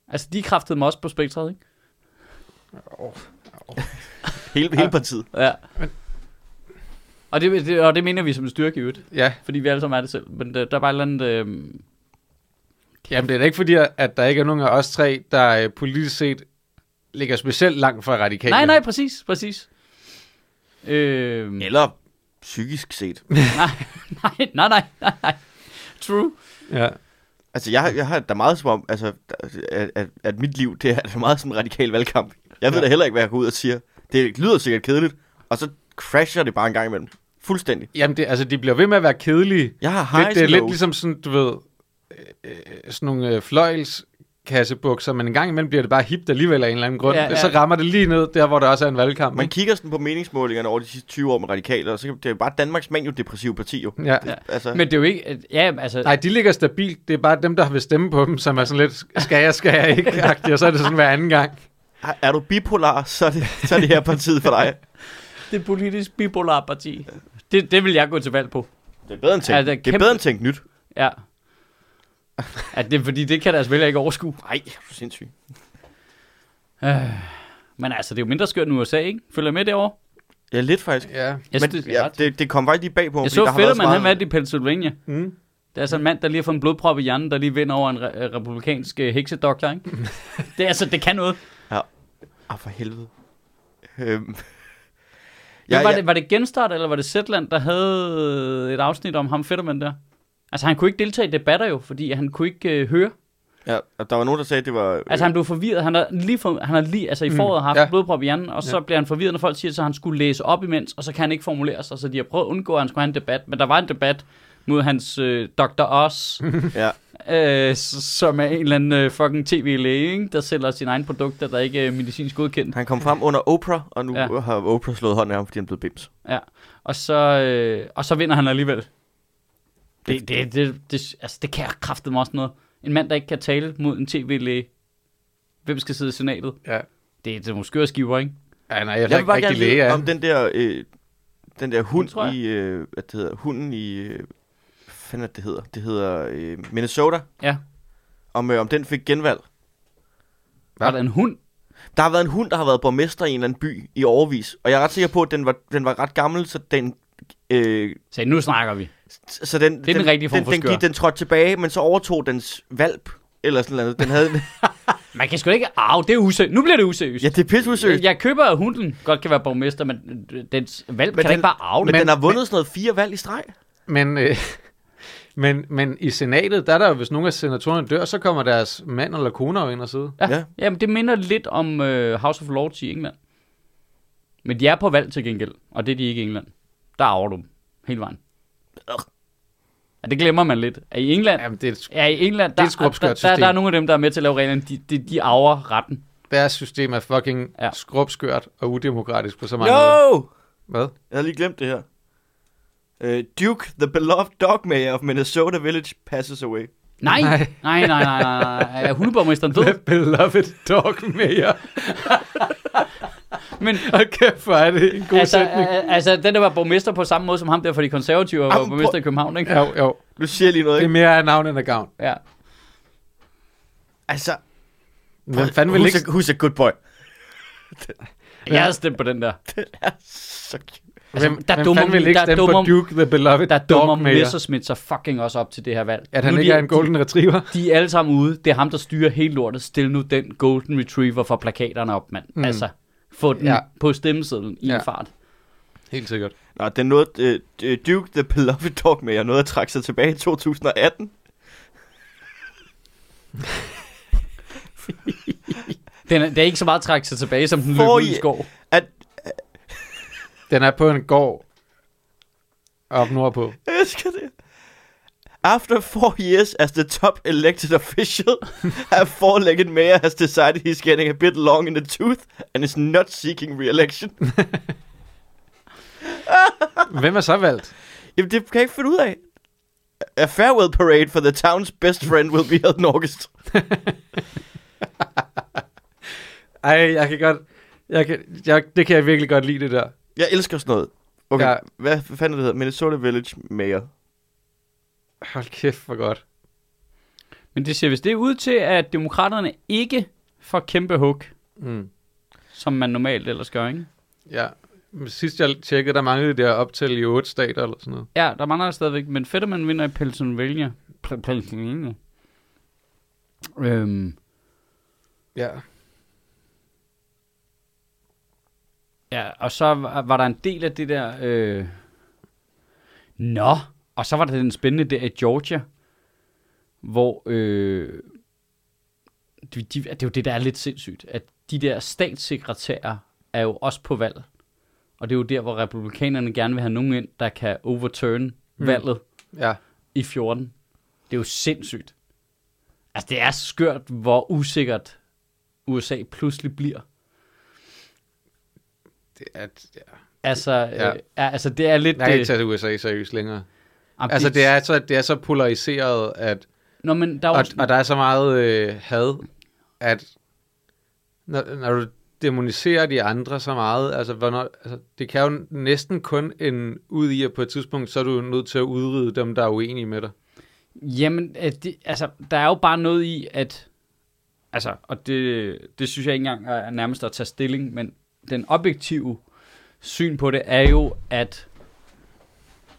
Altså, de kræftede mig også på spektret, ikke?
hele, hele partiet.
Ja. Og det, det, og det mener vi som en styrke i øvrigt,
ja,
fordi vi alle sammen er det selv. Men der, der er bare et eller andet... Øh,
Jamen, det er da ikke fordi, at der ikke er nogen af os tre, der øh, politisk set ligger specielt langt fra radikale.
nej, nej, præcis, præcis. Øh,
Eller psykisk set.
nej, nej, nej, nej, nej. True.
Ja.
Altså, jeg, har- jeg har da meget som om, altså, der- at, at, at mit liv, det er da meget sådan en radikal valgkamp. Jeg ved
Ja.
da heller ikke, hvad jeg går ud og siger. Det lyder sikkert kedeligt, og så crasher det bare en gang imellem. Fuldstændig.
Jamen, det, altså, de bliver ved med at være kedelige.
Jeg har highs
Lidt, ligesom- det er
and
lidt
lows.
ligesom sådan, du ved, øh, øh, sådan nogle øh, fløjls kassebukser, men en gang imellem bliver det bare hipt alligevel af en eller anden grund.
Ja,
Ja,
ja.
ja. Så rammer det lige ned der, hvor der også er en valgkamp.
Man
ikke?
kigger sådan på meningsmålingerne over de sidste 20 år med radikaler, og så kan- det er jo bare Danmarks manio-depressive parti jo.
Ja.
Ja.
Altså,
Men det er jo ikke... at- Ja, altså...
Nej, de ligger stabilt. Det er bare dem, der vil stemme på dem, som er sådan lidt, skal jeg, skal jeg ikke, -agtig, og så er det sådan hver anden gang.
er- er du bipolar, så er det, så er det her partiet for dig.
Det politisk bipolar parti. Det, det vil jeg gå til valg på.
Det er bedre end tænkt,
Ja, det
altså,
er
det er
kæmpe-
bedre end tænkt nyt.
Ja. At det, fordi det kan deres vælger ikke overskue.
Nej, du er sindssyg.
Øh, men altså, det er jo mindre skørt end USA, ikke? Følger I med derovre?
Ja, lidt faktisk.
Ja.
Jeg,
Men,
synes, det,
ja, det, det kom faktisk lige bag på
jeg så fedt, at man han vandt
meget...
i Pennsylvania.
Mm.
Der er sådan en mand, der lige har fået en blodprop i hjernen, der lige vinder over en re- øh, republikansk øh, heksedoktor, ikke? det, er altså, det kan noget.
Ah, for helvede. Øhm.
Ja,
Ja,
var,
ja,
Det, var det Genstart, eller var det Zetland, der havde øh, et afsnit om ham Fetterman der? Altså, han kunne ikke deltage i debatter jo, fordi han kunne ikke øh, høre.
ja, og der var nogen, der sagde, at det var...
Altså, han blev forvirret. Han har lige, for, han har lige altså, i
Mm,
foråret haft ja.
ja.
blodprop i hjernen, og så bliver han forvirret, når folk siger, at han skulle læse op imens, og så kan han ikke formulere sig. Så de har prøvet at undgå, at han skulle have en debat. Men der var en debat mod hans øh, Dr. Oz,
Ja.
øh, s- som er en eller anden øh, fucking tv-læge, ikke? der sælger sine egne produkter, der ikke er medicinsk godkendt.
Han kom frem under Oprah, og nu
Ja.
ja. har Oprah slået hånden af ham, fordi han blev bims.
Og så, øh, og så vinder han alligevel. Det, det, det, det, altså, det kan jeg kraftedeme også noget. En mand, der ikke kan tale mod en tv-læge. Hvem skal sidde i senatet?
Ja.
Det, det er måske også skiver, ikke?
ja, nej, jeg er ikke Altså, rigtig læge af.
om den der, øh, den der hund
tror jeg.
i... Øh, hvad det hedder? Hunden i... Øh, hvad fanden er det, det hedder? Det hedder øh, Minnesota.
Ja.
Om, øh, om den fik genvalg.
Hva?
Var der en hund?
Der har været en hund, der har været borgmester i en eller anden by i overvis. Og jeg er ret sikker på, at den var, den var ret gammel, så den... Øh,
Så nu snakker vi.
så den,
den rigtige form
den,
for
den,
skør.
gik, den trådte tilbage, men så overtog dens valp. Eller sådan noget. Den havde,
Man kan sgu da ikke arve, det er useriøst. Nu bliver det useriøst.
ja, det er pisseudsøgt.
jeg, jeg køber, at hunden godt kan være borgmester, men øh, dens valg kan den,
den-
ikke bare arve
Men,
det.
men
Men-
den har vundet sådan noget fire valg i streg.
Men, øh, men, men i senatet, der er der jo, hvis nogen af senatorerne dør, så kommer deres mand eller koner jo ind og sidde.
Ja.
Ja.
Jamen, det minder lidt om øh, House of Lords i England. Men de er på valg til gengæld, og det er de ikke i England. Der arver du dem hele vejen. Ja, det glemmer man lidt. At I England,
Jamen, det er, et-
ja, i England der,
det er et
der,
skrubskørt
der, der,
system.
er nogle af dem, der er med til at lave reglerne, de, de, de arver retten.
deres system er fucking
Ja.
ja. skrubskørt og udemokratisk på så mange måder.
No!
Hvad?
Jeg havde lige glemt det her. Uh, Duke, the beloved dog mayor of Minnesota Village, passes away.
Nej, nej, nej,
Nej.
nej, nej, nej. Er hundeborgmesteren død?
The beloved dog mayor.
Men,
Og kæft, hvor er det en god altså,
altså,
sætning.
al- altså, den der var borgmester på samme måde som ham der for de konservative, og var
Jamen,
borgmester
prøv-
i København, ikke?
Jo, jo.
Nu siger jeg lige noget,
Det er
ikke?
mere af navn end af gavn.
Ja.
Altså,
Men fanden vil
who's
ikke...
A, who's a good boy?
Jeg havde stemt på den der.
Så cute.
Altså,
Hvem,
der
der hvem
dummer-
fanden vil ikke
der
stemme på
dummer-
Duke the Beloved
Der dummer
Dog Mayor?
Messerschmidt sig fucking også op til det her valg.
At han
nu
ikke
de,
er en golden retriever?
De er alle sammen ude. Det er ham, der styrer hele lortet. Stil nu den golden retriever for plakaterne op, mand. Mm.
Mm.
Altså, få den ja.
Ja.
på stemmesedlen i ja.
Ja.
en fart.
Helt sikkert.
Nå, den nåede, øh, øh, Duke, the beloved dog mayor, nåede at trække sig tilbage i 2018.
Den er, det er ikke så meget at trække sig tilbage, som den løb
Får
ud i
I-
skov.
At,
Den er på en gård op nordpå.
jeg elsker det. After four years as the top elected official, a four-legged mayor has decided he's getting a bit long in the tooth and is not seeking re-election.
Hvem er så valgt?
Jamen, det kan jeg ikke finde ud af. A farewell parade for the town's best friend will be held in August.
Ej, jeg kan godt... Jeg kan, jeg, det kan jeg virkelig godt lide, det der.
Jeg elsker sådan noget. Okay,
Ja.
ja. hvad fanden er det, det hedder? Minnesota Village Mayor.
Hold kæft, hvor godt.
Men det ser vist det ud til, at demokraterne ikke får kæmpe hug,
Mm.
som man normalt ellers gør, ikke?
Ja. Men Sidst jeg tjekkede, der manglede det der op til i otte stater eller sådan noget.
Ja, der mangler der stadigvæk, men Fetterman vinder i Pennsylvania. Pl- Pennsylvania. Øhm,
Ja.
Ja, og så var, var der en del af det der... Øh... Nå, og så var der den spændende der i Georgia, hvor... Øh... De, de, det er jo det, der er lidt sindssygt, at de der statssekretærer er jo også på valg. Og det er jo der, hvor republikanerne gerne vil have nogen ind, der kan
Mm.
overturn valget
Ja.
i 14. Det er jo sindssygt. Altså, det er skørt, hvor usikkert USA pludselig bliver.
Det er, ja.
Altså, ja.
Ja.
øh, ja, altså det er lidt...
Jeg kan
øh,
ikke tage USA seriøst længere.
jamen,
Altså, det er så, det er så polariseret, at,
Nå, men der er
og,
jo...
og der er så meget øh, had, at når, når du demoniserer de andre så meget, altså, hvornår, altså, det kan jo næsten kun en ud i, at på et tidspunkt, så er du nødt til at udrydde dem, der er uenige med dig.
Jamen, øh, det, altså, der er jo bare noget i, at... Altså, og det, det synes jeg ikke engang er er nærmest at tage stilling, men den objektive syn på det er jo, at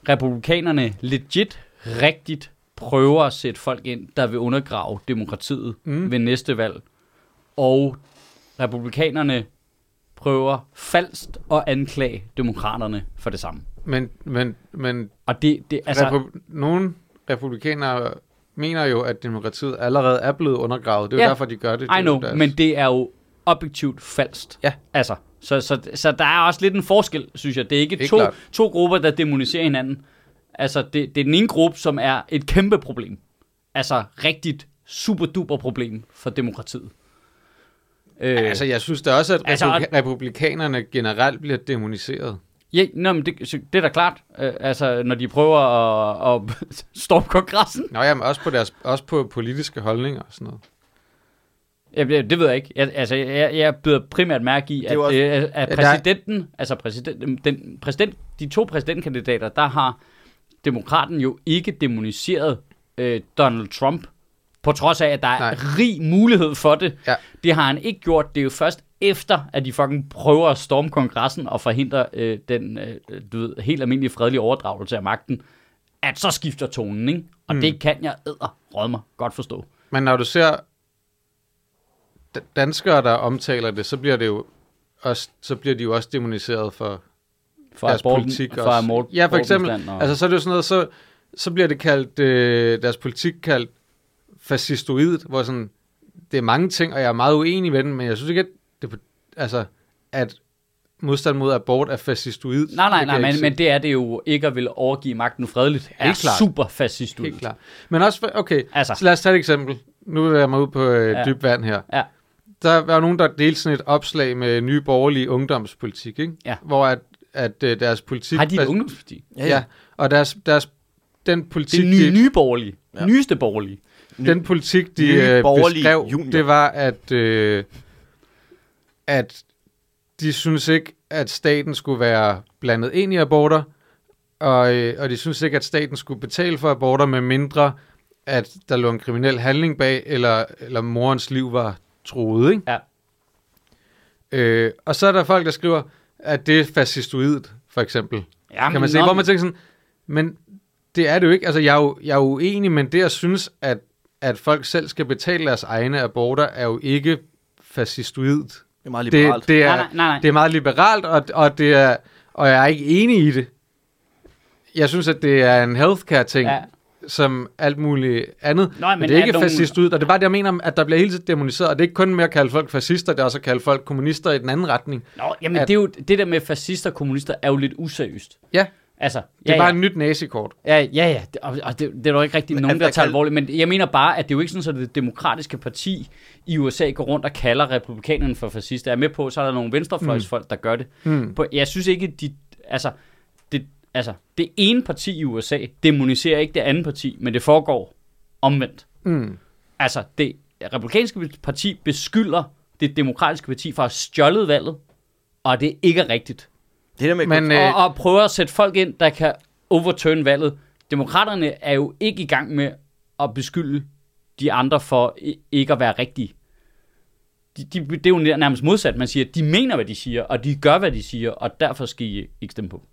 republikanerne legit rigtigt prøver at sætte folk ind, der vil undergrave demokratiet mm. ved næste valg. Og republikanerne prøver falst at anklage demokraterne for det samme.
Men, men, men
Og det, det
Altså,
altså...
Repu- nogle republikanere mener jo, at demokratiet allerede er blevet undergravet. Det er
Ja.
jo derfor, de gør det. Det er
I
jo
know,
deres-
men det er jo objektivt falsk.
Ja.
Altså, så, så, så der er også lidt en forskel, synes jeg. Det er ikke
Helt
to,
klart.
to grupper, der demoniserer hinanden. Altså, det, det er den ene gruppe, som er et kæmpe problem. Altså, rigtigt super duper problem for demokratiet. Øh,
Altså, jeg synes da også, at
Altså,
altså, republikanerne generelt bliver demoniseret.
ja, nå, men det, så det er da klart. Øh, altså, når de prøver at, at storme kongressen.
Nå jamen, også på, deres, også på politiske holdninger og sådan noget.
Ja, det, det ved jeg ikke. Jeg, altså, jeg, jeg bider primært mærke i,
er
at,
jo også-
øh, at, at
Ja, der-
præsidenten, altså præsident, den, præsident, de to præsidentkandidater, der har demokraten jo ikke demoniseret øh, Donald Trump, på trods af, at der er
Nej.
rig mulighed for det.
Ja.
Det har han ikke gjort. Det er jo først efter, at de fucking prøver at storme kongressen og forhindre øh, den øh, du ved, helt almindelige fredelige overdragelse af magten, at så skifter tonen, ikke? Og mm. det kan jeg æder, mig godt forstå.
Men når du ser d- danskere, der omtaler det, så bliver det jo også, så bliver de jo også demoniseret for
For
deres
aborten-
politik
for
også.
abort-
ja, for eksempel,
abortmodstand og-
altså så er det jo sådan noget, så, så bliver det kaldt, øh, deres politik kaldt fascistoid, hvor sådan, det er mange ting, og jeg er meget uenig med den, men jeg synes ikke, at, det, på- altså, at modstand mod abort er fascistoid.
Nej, nej,
Det kan
nej,
jeg ikke
men,
se.
men det er det jo ikke at ville overgive magten fredeligt. Er
Helt klart.
super fascist ud.
Helt klart. Men også, for- okay,
Altså.
altså. så lad os tage et eksempel. Nu vil jeg mig ud på øh,
Ja.
ja. dyb vand her.
Ja.
Der var nogen, der delte sådan et opslag med nye borgerlige ungdomspolitik, ikke?
Ja.
hvor at, at øh, deres politik...
Har de et ungdomsparti?
Ja, ja. og deres, deres, den
Det
politik,
er nye,
de,
nye borgerlige. Ja.
Ja.
Nyeste borgerlige.
den politik, de
nye
øh,
borgerlige
beskrev,
junior.
det var, at, øh, at de synes ikke, at staten skulle være blandet ind i aborter, og, øh, og de synes ikke, at staten skulle betale for aborter, med mindre at der lå en kriminel handling bag, eller, eller morens liv var troet. Ikke?
Ja.
Øh, og så er der folk, der skriver, at det er fascistoidet, for eksempel.
Jamen,
Jamen, kan man se,
nå,
hvor man tænker sådan, men det er det jo ikke. Altså, jeg er jo, jeg er jo uenig, men det, jeg synes, at, at folk selv skal betale deres egne aborter, er jo ikke fascistoidt.
Det er meget liberalt.
Det, det, er,
Nej, nej, nej, nej.
det er meget liberalt, og, og, det er, og jeg er ikke enig i det. Jeg synes, at det er en healthcare-ting,
Ja.
ja. som alt muligt andet.
Nå, men
men, men det er
er
ikke
nogen-
nogen... fascistoidt, og det er bare det, jeg mener, at der bliver hele tiden demoniseret, og det er ikke kun med at kalde folk fascister, det er også at kalde folk kommunister i den anden retning.
Nå, jamen
at-
det, er jo, det der med fascister og kommunister er jo lidt useriøst.
Ja,
Altså,
det er
ja,
bare
ja.
et nyt nazikort.
Ja, ja, ja. Det- Og, og det, det er der jo ikke rigtig nogen,
at
der
der
tager
kan-
alvorligt. Men jeg mener bare, at det er jo ikke sådan, at det demokratiske parti i USA går rundt og kalder republikanerne for fascister. Jeg er med på, så er der nogle venstrefløjsfolk, der gør det.
Mm.
På, jeg synes ikke, de... Altså det, altså, det ene parti i USA demoniserer ikke det andet parti, men det foregår omvendt.
Mm.
Altså, det republikanske parti beskylder det demokratiske parti for at have stjålet valget, og det ikke er rigtigt.
Det der med
Men,
men,
øh,
Og, og prøver at sætte folk ind, der kan overturn valget. Demokraterne er jo ikke i gang med at beskylde de andre for i- ikke at være rigtige. De, de, det er jo nærmest modsat. Man siger, de mener, hvad de siger, og de gør, hvad de siger, og derfor skal I ikke stemme på.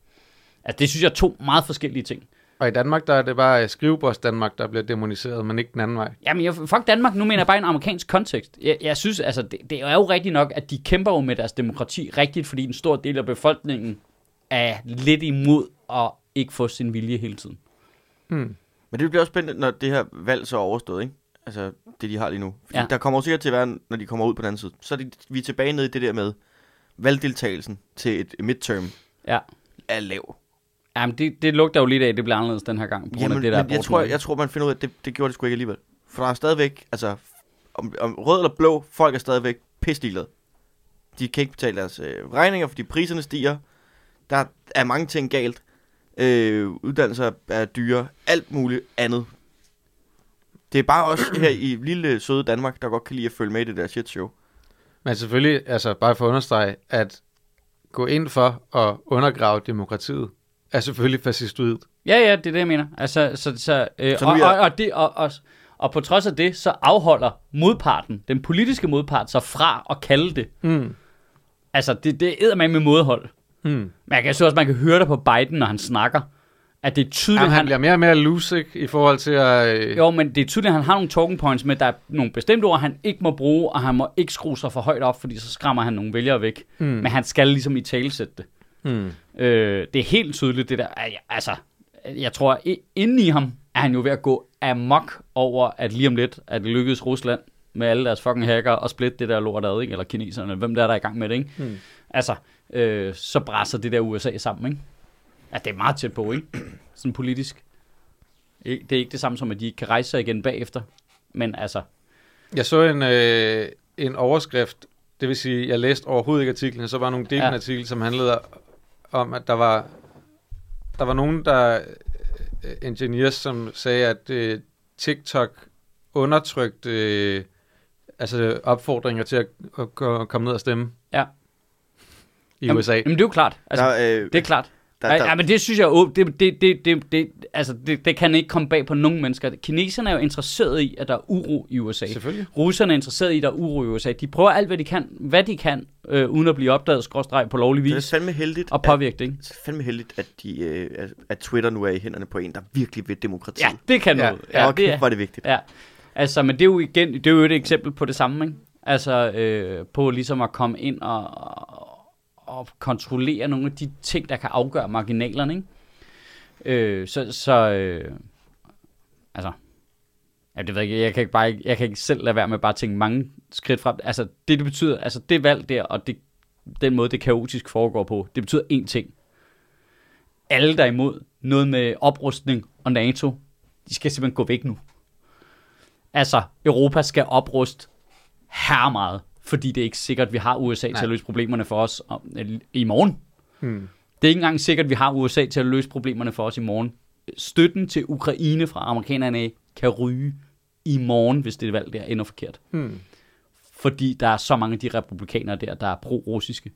Altså, det synes jeg er to meget forskellige ting.
Og i Danmark, der er det bare øh, skrivebords Danmark, der bliver demoniseret, men ikke den anden vej.
Jamen, jeg, fuck Danmark, nu mener jeg bare i en amerikansk kontekst. Jeg, jeg synes, altså, det, det er jo rigtigt nok, at de kæmper jo med deres demokrati rigtigt, fordi en stor del af befolkningen er lidt imod at ikke få sin vilje hele tiden.
men det bliver også spændende, når det her valg så er overstået, ikke? Altså, det de har lige nu. Fordi
Ja.
ja. der kommer jo sikkert til at være, en- når de kommer ud på den anden side, så er de, vi er tilbage nede i det der med, valgdeltagelsen til et midterm
Ja.
er lav.
Jamen, det, det lugter jo lidt af, at det bliver anderledes den her gang, på grund af
Jamen,
det der
men jeg,
abort-
tror, jeg, jeg tror, man finder ud af, at det, det gjorde det sgu ikke alligevel. For der er stadigvæk, altså, om, om rød eller blå, folk er stadigvæk pisliglade. De kan ikke betale deres øh, regninger, fordi priserne stiger. Der er mange ting galt. Øh, uddannelser er dyre. Alt muligt andet. Det er bare også her i lille, søde Danmark, der godt kan lide at følge med i det der shit show.
Men selvfølgelig, altså bare for at understrege, at gå ind for at undergrave demokratiet, er selvfølgelig fascistoid.
Ja, ja, det er det, jeg mener. Altså, så, så, øh,
Så
så
nu
og,
er-
og, og, det, og, og, og på trods af det, så afholder modparten, den politiske modpart, sig fra at kalde det.
Mm.
Altså, det, det er med modhold.
Mm.
Men jeg kan synes også, man kan høre det på Biden, når han snakker. At det er tydeligt,
Jamen, han bliver mere og mere loose, ikke, i forhold til at... Øh,
Jo, men det er tydeligt, at han har nogle talking points med, at der er nogle bestemte ord, han ikke må bruge, og han må ikke skrue sig for højt op, fordi så skræmmer han nogle vælgere væk. Mm. Men han skal ligesom i talesætte det.
Mm.
Øh, det er helt tydeligt, det der. Ej, Altså, jeg tror, i- inden i ham er han jo ved at gå amok over, at lige om lidt, at det lykkedes Rusland med alle deres fucking hacker og splitte det der lort ad, ikke? eller kineserne, hvem der er, der er i gang med det, ikke? Mm. Altså, øh, så brænder det der USA sammen, ikke? Altså, det er meget tæt på, ikke? Sådan politisk. Ikke- Det er ikke det samme som, at de ikke kan rejse sig igen bagefter. Men altså,
Jeg så en, øh, en overskrift, det vil sige, jeg læste overhovedet ikke artiklen, og så var nogle dele af
Ja.
ja. artikel, som handlede om, at der var, der var nogen, der øh, engineers, som sagde, at øh, TikTok undertrykte øh, altså opfordringer til at, at gå- komme ned og stemme
ja.
i
Jamen-
USA.
Jamen, det er jo klart. Altså,
der, øh,
det er klart.
der,
Der,
der,
Ja, men det synes jeg jo, det, det, det, det, det, altså, det, det kan ikke komme bag på nogen mennesker. Kineserne er jo interesseret i, at der er uro i USA.
Selvfølgelig.
Russerne er interesseret i, at der er uro i USA. De prøver alt, hvad de kan, hvad de kan øh, uden at blive opdaget, skråstreg, på lovlig
det er
vis,
fandme heldigt,
og
at-
påvirke det, ikke?
Det er fandme heldigt, at, de, øh, at- at Twitter nu er i hænderne på en, der virkelig ved demokrati.
Ja, det kan
Ja,
noget.
ja, okay,
det er,
hvor er det vigtigt.
Ja, altså, men det er jo igen, det er jo et eksempel på det samme, ikke? Altså, øh, på ligesom at komme ind og, og kontrollere nogle af de ting, der kan afgøre marginalerne, ikke? Øh, så, så øh, altså, ja, det ved jeg, ikke, jeg kan ikke bare, ikke- jeg kan ikke selv lade være med bare at tænke mange skridt frem. Altså, det, det betyder, altså det valg der, og det, den måde, det kaotisk foregår på, det betyder én ting. Alle, der er imod noget med oprustning og NATO, de skal simpelthen gå væk nu. Altså, Europa skal opruste her meget, fordi det er ikke sikkert, at vi har USA Nej. til
Nej.
at løse problemerne for os om, øh, i morgen.
Hmm.
Det er ikke engang sikkert, at vi har USA til at løse problemerne for os i morgen. Støtten til Ukraine fra amerikanerne af kan ryge i morgen, hvis det valg der ender forkert.
Hmm.
Fordi der er så mange af de republikanere der, der er pro-russiske.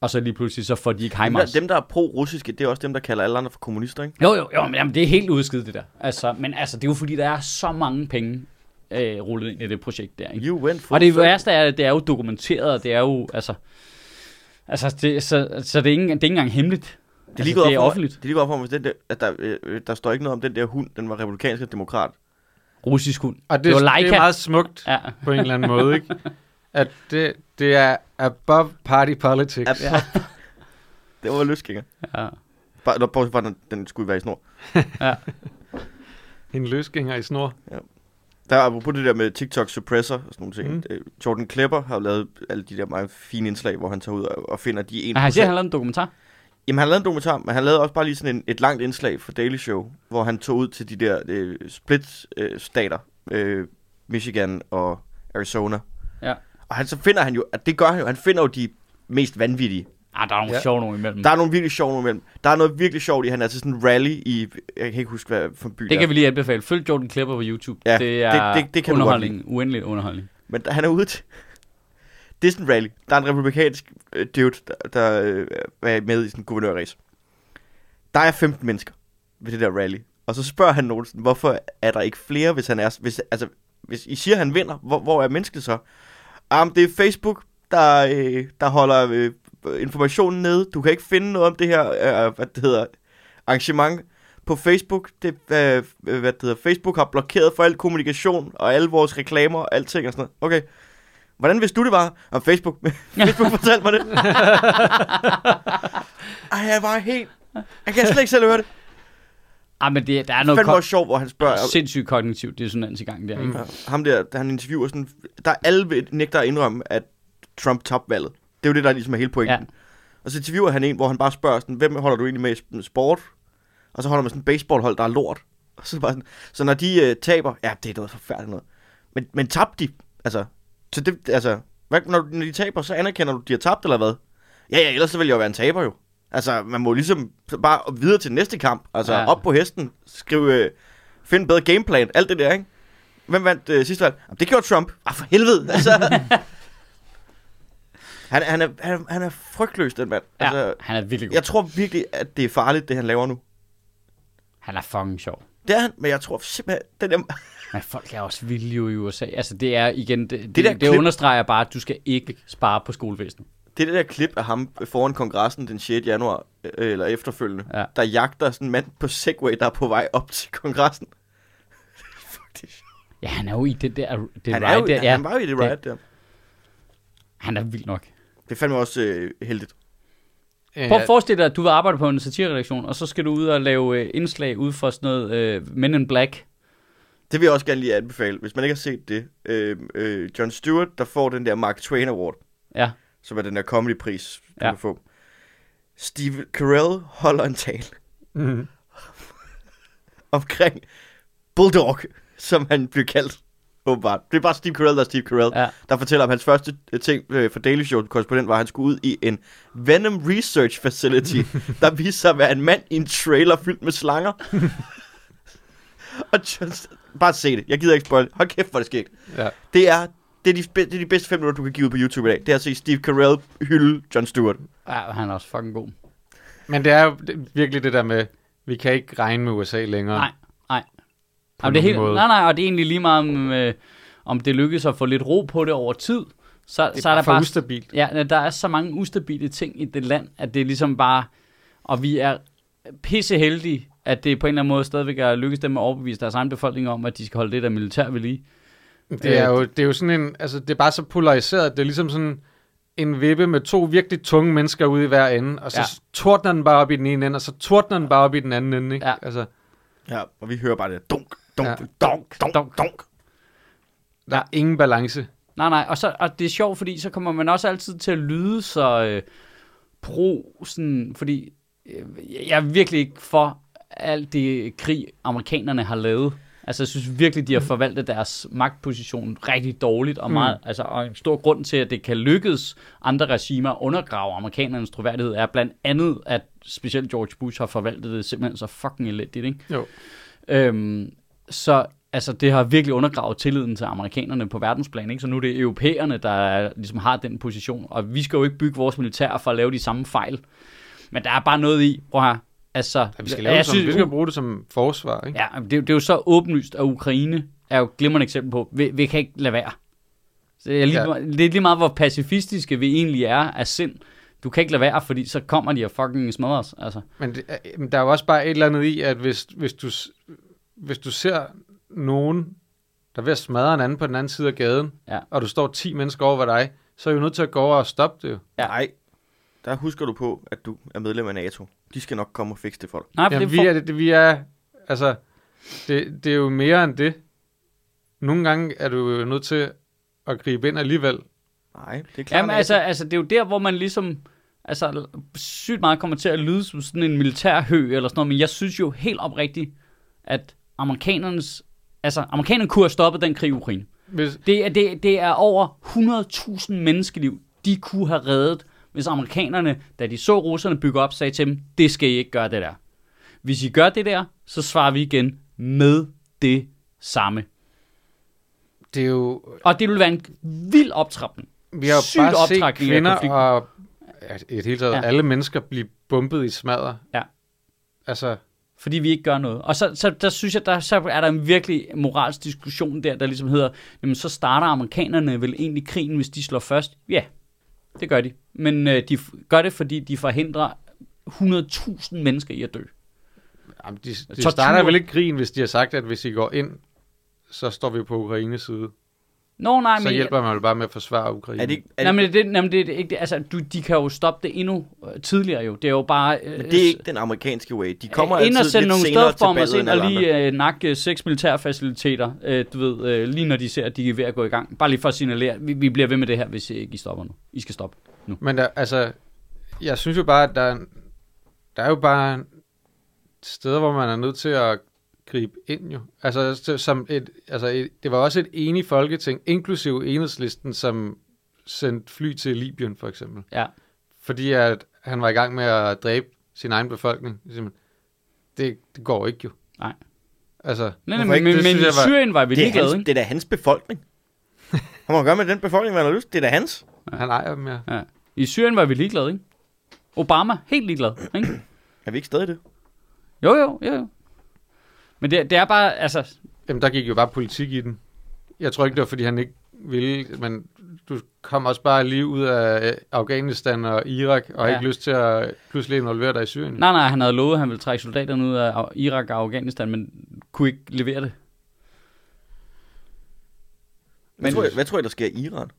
Og så lige pludselig, så får de ikke
Dem der,
HIMARS.
dem, der er pro-russiske, det er også dem, der kalder alle andre for kommunister, ikke?
Jo, jo, jo, men jamen, det er helt udskidt det der. Altså, men altså, det er jo fordi, der er så mange penge øh, rullet ind i det projekt der. Ikke?
You went for
Og det værste er, at det er jo dokumenteret, og det er jo, altså... Altså, det, så, så det, er ikke, det er ikke engang hemmeligt. Det
lige
altså,
gået
det er
op for mig-
offentligt.
Det er lige gået op for mig, hvis den der, at der, øh, øh, der står ikke noget om den der hund, den var republikansk og demokrat.
Russisk hund.
Og det,
var
det, det
Leica.
er meget smukt
Ja.
på en eller anden måde, ikke? At det, det er above party politics.
Ja. Altså, Det var løsgænger.
ja.
Bare, nå, bortset fra, den, den skulle være i snor.
En løsgænger i snor.
Der er apropos det der med TikTok suppressor og sådan nogle ting.
Mm.
Mm. Jordan Klepper har jo lavet alle de der meget fine indslag, hvor han tager ud og, og finder de en...
Men han siger, han lavede en dokumentar.
Jamen, han lavede en dokumentar, men han lavede også bare lige sådan en, et langt indslag for Daily Show, hvor han tog ud til de der øh, split-stater, øh, Michigan og Arizona.
Ja.
Og han, så finder han jo, at det gør han jo, han finder jo de mest vanvittige.
Ah, der er nogle ja.
Ja.
sjove nogle imellem.
Der er nogle virkelig sjove nogle imellem. Der er noget virkelig sjovt i, han er til sådan en rally i, jeg kan ikke huske, hvad for en by
Det
er.
kan vi lige anbefale. Følg Jordan Klepper på YouTube.
Ja,
det er
det- det- det kan du godt
underholdning. Uendelig underholdning.
Men der, han er ude til... Det er sådan en rally. Der er en republikansk øh, dude, der, der øh, er med i sådan en guvernørrace. Der er 15 mennesker ved det der rally. Og så spørger han nogen, sådan, hvorfor er der ikke flere, hvis han er... Hvis, altså, hvis I siger, han vinder, hvor, hvor er mennesket så? Ah, men det er Facebook, der, øh, der holder øh, informationen nede. Du kan ikke finde noget om det her, øh, hvad det hedder, arrangement på Facebook. Det, øh, øh, hvad det hedder, Facebook har blokeret for al kommunikation og alle vores reklamer og alting og sådan noget. Okay. Hvordan vidste du det var? Om Facebook. Facebook fortalte mig det. Ej, jeg var helt... Jeg kan slet ikke selv høre det.
Ah, men det, der er
Det
noget
fandt
ko-
mig sjovt, hvor han spørger...
sindssygt kognitivt dissonans i gang der. Ikke?
Ham der, han interviewer sådan... Der er alle ved- nægter at indrømme, at Trump tabte valget. Det er jo det, der ligesom er hele pointen.
Ja.
Og så interviewer han en, hvor han bare spørger sådan, hvem holder du egentlig med i sp- sport? Og så holder man sådan en baseballhold, der er lort. Og så, bare sådan, så når de øh, taber, ja, det er noget forfærdeligt noget. Men, men tabte de? Altså, så det, altså hvad, når, når de taber, så anerkender du, at de har tabt, eller hvad? Ja, ja, ellers så ville jeg jo være en taber jo. Altså, man må ligesom bare videre til næste kamp. Altså,
Ja.
ja. op på hesten, skrive, øh, find en bedre gameplan, alt det der, ikke? Hvem vandt øh, sidste valg? Jamen, det gjorde Trump. Ah, for helvede. Altså, han, han, er, han, er- han er frygtløs, den mand.
Ja,
Altså,
han er virkelig god.
jeg tror virkelig, at det er farligt, det han laver nu.
Han er fucking sjov.
Det er han, men jeg tror simpelthen, den der,
Men folk er også vilde jo i USA. Altså, det er igen, det, det,
der
det, det
klip-
understreger bare, at du skal ikke spare på skolevæsenet.
det der klip af ham foran kongressen den 6. januar, øh, eller efterfølgende,
Ja.
ja. der jagter sådan en mand på Segway, der er på vej op til kongressen. Fuck, det er sjovt.
Ja, han er jo i det der, det
han,
ride
er jo,
der.
han,
ja,
han var jo i det riot der.
han er vild nok.
Det fandt mig også øh, heldigt.
Prøv at forestille dig, at du vil arbejde på en satireredaktion, og så skal du ud og lave øh, indslag ud for sådan noget øh, Men in Black.
Det vil jeg også gerne lige anbefale, hvis man ikke har set det. Øh, øh, John Stewart, der får den der Mark Twain Award,
Ja,
som er den der comedy-pris, du
Ja.
ja. kan få. Steve Carell holder en tale
Mhm.
omkring Bulldog, som han blev kaldt, åbenbart. Det er bare Steve Carell, der er Steve Carell.
ja.
der fortæller om hans første øh, ting øh, for Daily Show korrespondent var, at han skulle ud i en Venom Research Facility, der viste sig at være en mand i en trailer fyldt med slanger. og just, bare se det. Jeg gider ikke spoil. Hold kæft, hvor er det skægt.
Ja.
Det er, det er, de, be- det er de bedste fem minutter, du kan give ud på YouTube i dag. Det er at se Steve Carell hylde John Stewart.
ja han er også fucking god.
Men det er jo det- virkelig det der med, vi kan ikke regne med USA længere.
Nej, nej.
På
Jamen, det er
nogen
helt,
måde.
nej, nej, og det er egentlig lige meget, om, øh, om det lykkes at få lidt ro på det over tid. Så,
det er,
så er der
for
bare
ustabilt.
Ja, der er så mange ustabile ting i det land, at det er ligesom bare... Og vi er pisse heldige, at det på en eller anden måde stadigvæk er lykkes dem at overbevise deres egen befolkning om, at de skal holde det der militær ved lige.
Det er, jo, det er jo sådan en, altså det er bare så polariseret, det er ligesom sådan en vippe med to virkelig tunge mennesker ude i hver ende, og så
Ja.
ja. tordner den bare op i den ene ende, og så tordner den bare op i den anden ende, ikke?
Ja.
Altså,
Ja, og vi hører bare det. Dunk, dunk,
Ja.
ja. dunk, dunk, dunk, dunk.
der er ingen balance.
Nej, nej, og, så, og det er sjovt, fordi så kommer man også altid til at lyde så øh, pro, sådan, fordi øh, jeg er virkelig ikke for alt det krig, amerikanerne har lavet. Altså, jeg synes virkelig, de har forvaltet deres magtposition rigtig dårligt, og, meget, mm. altså, og en stor grund til, at det kan lykkes andre regimer at undergrave amerikanernes troværdighed, er blandt andet, at specielt George Bush har forvaltet det simpelthen så fucking elendigt, ikke?
Jo.
Øhm, så altså, det har virkelig undergravet tilliden til amerikanerne på verdensplan. Ikke? Så nu er det europæerne, der er- ligesom har den position. Og vi skal jo ikke bygge vores militær for at lave de samme fejl. Men der er bare noget i, prøv her. Altså,
Ja, vi skal, lave det som, vi skal bruge det som forsvar, ikke?
Ja, men det, er jo- det er jo så åbenlyst, at Ukraine er jo et glimrende eksempel på, vi, vi kan ikke lade være. Så jeg er lige, ja.
Ja.
Det er lige meget, hvor pacifistiske vi egentlig er af sind. Du kan ikke lade være, fordi så kommer de og fucking smadrer os. Altså.
Men det, er- men der er jo også bare et eller andet i, at hvis, hvis, du, s- hvis du ser nogen, der er ved at smadre en anden på den anden side af gaden,
Ja.
og du står 10 mennesker over ved dig, så er du nødt til at gå over og stoppe det. jo.
Ja.
Ja. Nej, der husker du på, at du er medlem af NATO. De skal nok komme og fikse det for dig.
Nej, for
Jamen,
det
vi,
får-
er, det, vi er, altså, det, det er jo mere end det. Nogle gange er du jo nødt til at gribe ind alligevel.
Nej, det er klart.
Jamen,
NATO.
altså, altså, det er jo der, hvor man ligesom altså, sygt meget kommer til at lyde som sådan en militærhø eller sådan noget, men jeg synes jo helt oprigtigt, at amerikanernes, altså, amerikanerne kunne have stoppet den krig i Ukraine.
Hvis,
Det er, det, det er over 100.000 menneskeliv, de kunne have reddet, hvis amerikanerne, da de så russerne bygge op, sagde til dem, det skal I ikke gøre det der. Hvis I gør det der, så svarer vi igen med det samme.
det er jo,
Og det vil være en vild optrapning.
vi har jo
Sygt
bare set
optrapning af
kvinder
konflikten.
og ja, i det hele taget,
Ja.
ja. alle mennesker blive bumpet i smadret.
Ja.
Altså,
fordi vi ikke gør noget. Og så, så der synes jeg, der så er der en virkelig moralsk diskussion der, der ligesom hedder, jamen så starter amerikanerne vel egentlig krigen, hvis de slår først? Ja, det gør de. Men øh, de f- gør det, fordi de forhindrer 100.000 mennesker i at dø.
jamen, de, de
Tortur.
starter vel ikke krigen, hvis de har sagt, at hvis I går ind, så står vi på Ukraines side.
Nå, nej,
så
men...
hjælper man jo bare med at forsvare Ukraine.
er det, ikke- er
Nej,
det,
men det, nej, men det, det, er ikke det, altså, du, de kan jo stoppe det endnu øh, tidligere jo. Det er jo bare... Øh,
Men det er ikke den amerikanske way. De kommer
ind og
altid
sende
lidt
nogle
senere til
stedformer
ballet
ind
end
og
alle andre.
lige øh, nakke seks militærfaciliteter, øh, du ved, øh, lige når de ser, at de er ved at gå i gang. Bare lige for at signalere, vi, vi bliver ved med det her, hvis I ikke I stopper nu. I skal stoppe.
Men der, altså, jeg synes jo bare, at der, er- der er jo bare steder, hvor man er nødt til at gribe ind jo. Altså, s- som et, altså et, det var også et enigt folketing, inklusive enhedslisten, som sendte fly til Libyen for eksempel.
Ja.
Fordi at han var i gang med at dræbe sin egen befolkning. Simpelthen. Det, det går ikke jo.
Nej.
Altså,
Nej, nej,
Hvorfor
men,
ikke?
men,
Det
men
synes
i
jeg var-
Syrien var vi
det, er
ligeglade,
hans,
ikke?
det er da hans befolkning. Han må gøre med den befolkning, hvad han har lyst. Det er da hans.
han ejer dem, ja.
Ja. I Syrien var vi ligeglade, ikke? Obama, helt ligeglad, ikke?
Er vi ikke stadig det?
Jo, jo, jo, jo. Men det, det er bare, altså,
Jamen, der gik jo bare politik i den. Jeg tror ikke, det var, fordi han ikke ville, men du kom også bare lige ud af øh, Afghanistan og Irak, og ja.
Ja.
ikke lyst til at pludselig involvere dig i Syrien.
nej, nej, han havde lovet, at han ville trække soldaterne ud af Af- Irak og Afghanistan, men kunne ikke levere det.
Hvad,
Men-
tror, jeg, hvad tror jeg, der sker i Iran?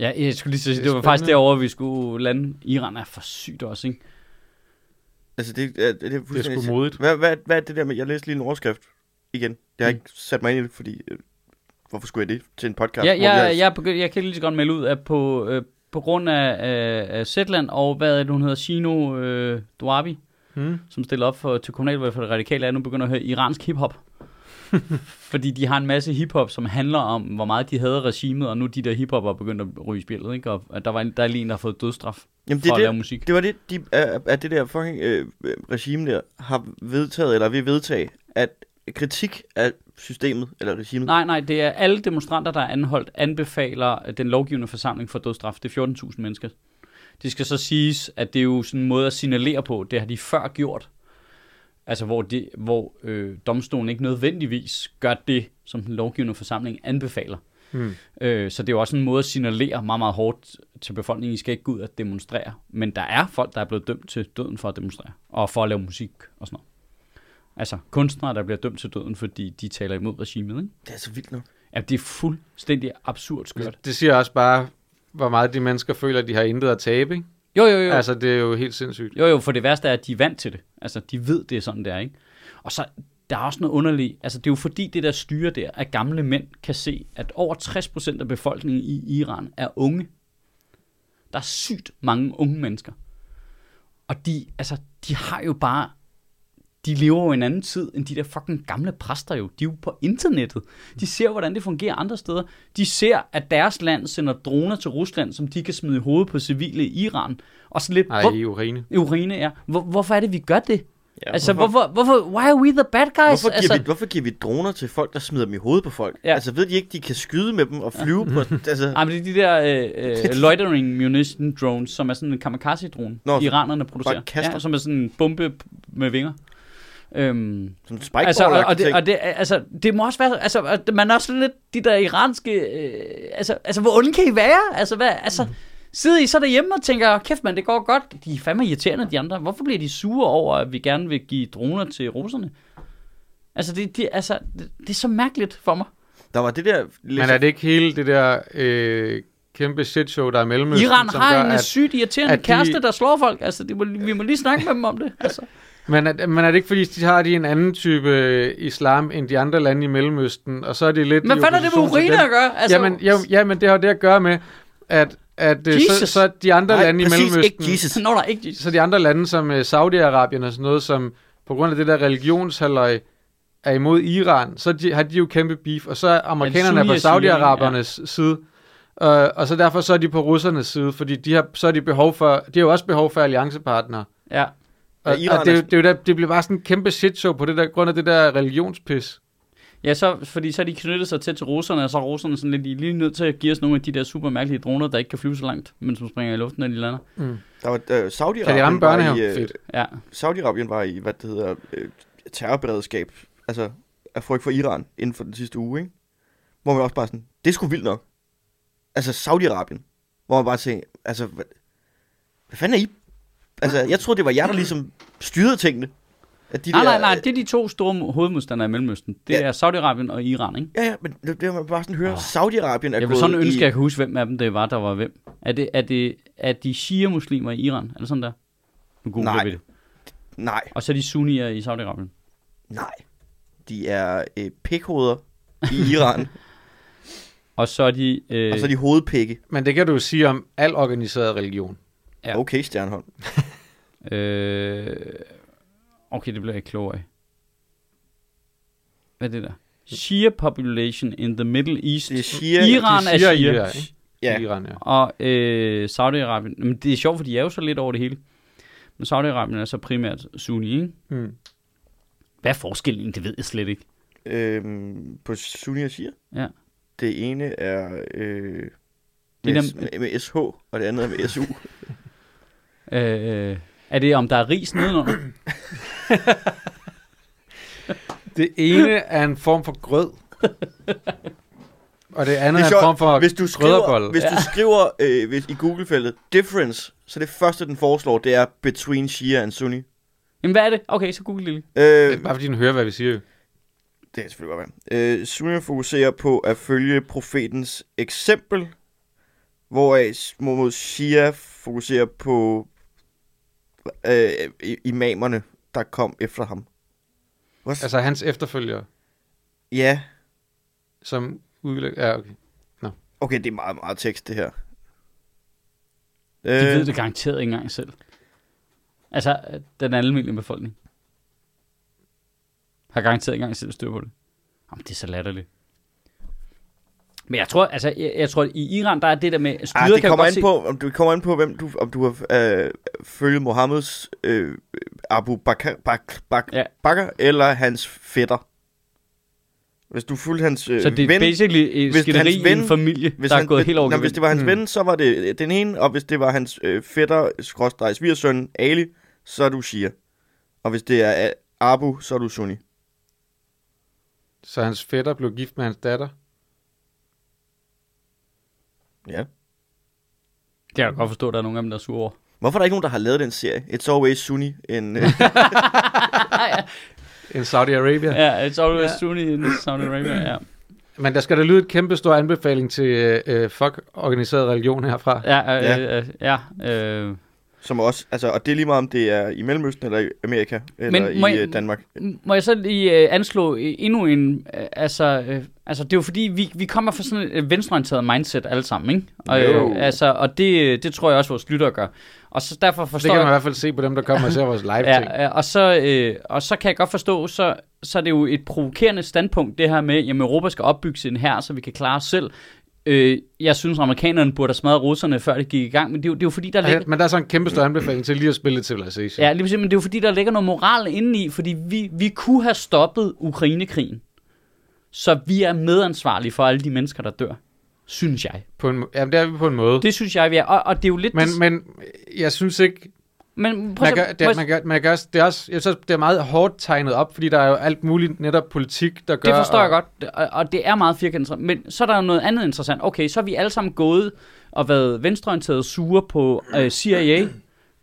Ja, jeg skulle lige sige,
Det
det,
er
det var faktisk
spændende.
derovre, vi skulle lande. Iran er for sygt også, ikke?
Altså, det, er, det, er
Det er
fuldstændig...
sgu modigt.
Hvad, hvad, hvad er det der med, jeg læste lige en overskrift igen. Det har jeg ikke sat mig ind i, fordi øh, hvorfor skulle jeg det til en podcast?
Ja,
hvor vi har-
jeg, jeg, jeg, jeg kan lige så godt melde ud, at på, øh, på grund af, øh, af Zetland og hvad er det, hun hedder, Shino øh, Duabi,
Hmm?
som stiller op for, til kommunalvalget for det radikale, er nu begynder at høre iransk hiphop. Fordi de har en masse hiphop, som handler om, hvor meget de havde regimet, og nu de der hiphopper er begyndt at ryge i spillet, ikke? Og at der, var en, der er lige en, der har fået dødsstraf
Jamen,
for
det
at
er
lave
det,
musik.
det var det, de, at, at det der fucking øh, øh, regime der har vedtaget, eller vil vedtage, at kritik af systemet, eller regimet,
Nej, nej, det er alle demonstranter, der er anholdt, anbefaler øh, den lovgivende forsamling for dødsstraf. Det er 14.000 mennesker. Det skal så siges, at det er jo sådan en måde at signalere på. Det har de før gjort. Altså, hvor, de, hvor øh, domstolen ikke nødvendigvis gør det, som den lovgivende forsamling anbefaler.
Hmm.
Øh, så det er jo også en måde at signalere meget, meget hårdt til befolkningen, I skal ikke gå ud og demonstrere. Men der er folk, der er blevet dømt til døden for at demonstrere, og for at lave musik og sådan noget. Altså kunstnere, der bliver dømt til døden, fordi de taler imod regimet, ikke?
det er så vildt nok.
Ja, det er fuldstændig absurd skørt.
Det siger også bare, hvor meget de mennesker føler, at de har intet at tabe. Ikke?
Jo, jo, jo. Altså,
Altså, det er jo helt sindssygt.
jo, jo, for det værste er, at de er vant til det. Altså, de ved, det er sådan, det er, ikke? Og så, der er også noget underligt. Altså, det er jo fordi, det der styre der, at gamle mænd kan se, at over 60% af befolkningen i Iran er unge. Der er sygt mange unge mennesker. Og de, altså, de har jo bare de lever jo i en anden tid, end de der fucking gamle præster jo. De er jo på internettet. De ser, hvordan det fungerer andre steder. De ser, at deres land sender droner til Rusland, som de kan smide i hovedet på civile i Iran. Og så lidt,
Nej,
hvor,
i urine.
urine er. Hvor, hvorfor er det, vi gør det?
Ja,
Ja, altså, hvorfor, hvorfor, why are we the bad guys?
Hvorfor giver,
altså,
vi, hvorfor giver vi droner til folk, der smider dem i hovedet på folk?
Ja.
Ja. Altså, ved de ikke, de kan skyde med dem og flyve ja. på... Altså,
Ej, men det er de der øh, øh, loitering munition drones, som er sådan en kamikaze-drone,
Nå, så
iranerne producerer.
bare kaster.
Ja, som er sådan en bombe p- med vinger. Øhm,
som spike
altså, og, og, det,
ting.
og det, altså, det må også være, altså, og det- man er også lidt de der iranske, øh, altså, altså, hvor onde kan I være? Altså, hvad, altså, sidder I så derhjemme og tænker, kæft mand, det går godt. De er fandme irriterende, de andre. Hvorfor bliver de sure over, at vi gerne vil give droner til russerne? Altså, det, det, altså, det, det er så mærkeligt for mig.
Der var det der...
Men er det ikke hele det der øh, kæmpe shitshow, der er i Mellemøsten,
Iran
som
har
gør,
en øh,
at
sygt irriterende
at de-
kæreste, der slår folk. Altså, det må, vi må lige snakke med dem om det. Altså.
Men er, men er det ikke fordi, de har de en anden type øh, islam end de andre lande i Mellemøsten, og så er de lidt...
Men
i
hvad er det med
opposition til
uriner
dem?
at gøre? Altså,
Altså, jamen, jo, jamen, det har jo det at gøre med, at, at øh, så,
Jesus.
så de andre
Nej,
lande i
præcis,
Mellemøsten...
ikke Jesus.
Når der er ikke...
Så de andre lande som øh, Saudi-Arabien og sådan noget, som på grund af det der religionshalløj er imod Iran, så de, har de jo kæmpe beef, og så er amerikanerne
Sunni
på
og Shia, ikke?
Saudi-Arabernes ja. side, øh, og så derfor så er de på russernes side, fordi de har, så er de, behov for, de har jo også behov for alliancepartnere.
Ja.
Og,
Ja,
ja,
Iran
og det, er
er-
jo- det, er jo der, det bliver bare sådan en kæmpe shitshow på det der grund af det der religionspis.
Ja, så, fordi så har de knyttet sig tæt til russerne, og så er russerne sådan lidt, de er lige nødt til at give os nogle af de der super mærkelige droner, der ikke kan flyve så langt, men som springer i luften, når de lander.
Der var øh, Saudi-Arabien...
Kan de ramme
var i,
børnehaven?
øh,
Fedt.
Ja,
Saudi-Arabien var i, hvad det hedder, øh, terrorberedskab, altså af frygt for Iran inden for den sidste uge, ikke? Hvor man også bare sådan, det er sgu vildt nok. Altså Saudi-Arabien, hvor man bare tænker, altså, hvad, hvad fanden er I? Altså, jeg troede, det var jer, der ligesom styrede tingene. At de
nej,
der,
nej, nej,
øh,
det er de to store mo- hovedmodstandere i Mellemøsten. Det
Ja.
er Saudi-Arabien og Iran, ikke?
Ja, ja, men det, det har man bare sådan høre, Saudi-Arabien er
Jeg vil
gået
sådan ønske, at
i,
jeg kan huske, hvem af dem det var, der var hvem. Er det, er det er de shia-muslimer i Iran? Er det sådan der? Nu googler
Nej.
vi det.
Nej,
Og så er de sunnier i Saudi-Arabien.
nej. De er øh, pikhoveder i Iran,
Og så er de... Øh,
og så er de hovedpikke.
Men det kan du jo sige om al organiseret religion.
Ja.
Okay, Stjernholm.
Øh, okay, det bliver jeg ikke klogere af. Hvad er det der? Shia population in the Middle East.
Det er Shia-
Iran
det
er
er
Shia.
Shia
Shia.
i Irak, ikke?
Ja.
I Iran, ja.
Og øh, Saudi-Arabien. Men det er sjovt, for de er jo så lidt over det hele. Men Saudi-Arabien er så primært sunni, ikke?
Mm.
Hvad er forskellen? Det ved jeg slet ikke.
Øhm, på Sunni og Shia.
Ja.
Det ene er øh,
Det
med,
er
S-
dem-
med, med SH, og det andet er med SU.
Øh, er det, om der er ris nedenunder?
Det ene er en form for grød. Og det andet
Det
er,
er
en
sjovt,
form for
hvis du skriver,
krydderbolle.
hvis du skriver øh, hvis, i Google-feltet difference, så det første, den foreslår, det er between Shia and Sunni.
Jamen, hvad er det? Okay, så google det lige.
Det
Øh,
er bare fordi, den hører, hvad vi siger. jo.
Det kan selvfølgelig godt være. Øh, Sunni fokuserer på at følge profetens eksempel, hvoraf s- mod Shia fokuserer på øh, i- imamerne, der kom efter ham. What? Altså,
Altså hans efterfølgere,
ja,
som udlæg... Ja, okay.
okay, det er meget, meget tekst, det her.
De
Øh,
ved det garanteret ikke engang selv. Altså, øh, den almindelige befolkning. Har garanteret ikke engang selv styr på det. Jamen, det er så latterligt. Men jeg tror, altså, jeg, jeg tror, at i Iran, der er det der med, at styret
Ah, det
kan jo
kommer
godt
an
se,
på, om du kommer an på, hvem du, om du har øh, følge Mohammeds øh, Abu Bakr, Bak, Bak,
Ja.
ja. Bakr eller hans fætter. Hvis du fulgte hans øh,
så det er
ven,
basically et
hvis
skænderi
hans
i en
ven-
familie, der er
han-
gået helt over
Nå, hvis det var hans mm. ven, så var det øh, den ene, og hvis det var hans øh, fætter, skråstrej, svigersøn, Ali, så er du Shia. Og hvis det er øh, Abu, så er du Sunni.
Så hans fætter blev gift med hans datter.
Ja.
Det kan jeg godt forstå, at der er nogen af dem, der er sure over.
Hvorfor er der ikke nogen, der har lavet den serie? It's always Sunni. En, øh,
En Saudi-Arabia.
Ja, it's always ja. Sunni in Saudi Arabia, ja.
Men der skal da lyde et kæmpe stor anbefaling til øh, øh, fuck organiseret religion herfra.
Ja, øh, øh, ja. Øh,
som også, altså, og det er lige meget, om det er i Mellemøsten, eller i Amerika, eller
Men
Men,
må
i
jeg-
øh, Danmark.
Må jeg så lige øh, anslå øh, endnu en, øh, altså, øh, altså det er jo fordi, vi, vi kommer fra sådan et øh, venstreorienteret mindset alle sammen, ikke? Og,
Jo.
øh, altså, og det, øh, det tror jeg også, vores lyttere gør. Og så derfor
Det
forstår
kan man i
jeg,
hvert fald se på dem, der kommer og ser vores live-ting.
ja, ja, og, så, øh, og så kan jeg godt forstå, så, så er det jo et provokerende standpunkt, det her med, jamen Europa skal opbygge sin her, så vi kan klare os selv. Øh, jeg synes, amerikanerne burde have smadret russerne, før det gik i gang, men det er jo, det er jo fordi, der ligger...
Ja. Men der er så en kæmpe stor anbefaling til lige at spille lidt Civilization.
Ja, lige præcis, men det er jo fordi, der ligger noget moral indeni, fordi vi, vi kunne have stoppet Ukrainekrigen. Så vi er medansvarlige for alle de mennesker, der dør. Synes jeg.
På en, må- jamen, det er vi på en måde. Det,
Det synes jeg, vi er. Og, og det er jo lidt...
men, men jeg synes ikke...
men prøv
Man
at
gør,
se- prøv
det,
at
man
se-
gør, man gør, det er også, jeg synes, det er meget hårdt tegnet op, fordi der er jo alt muligt netop politik, der gør...
det forstår
og,
jeg godt, og, og det er meget firkantet. Men så er der jo noget andet interessant. Okay, så er vi alle sammen gået og været venstreorienterede sure på øh, CIA,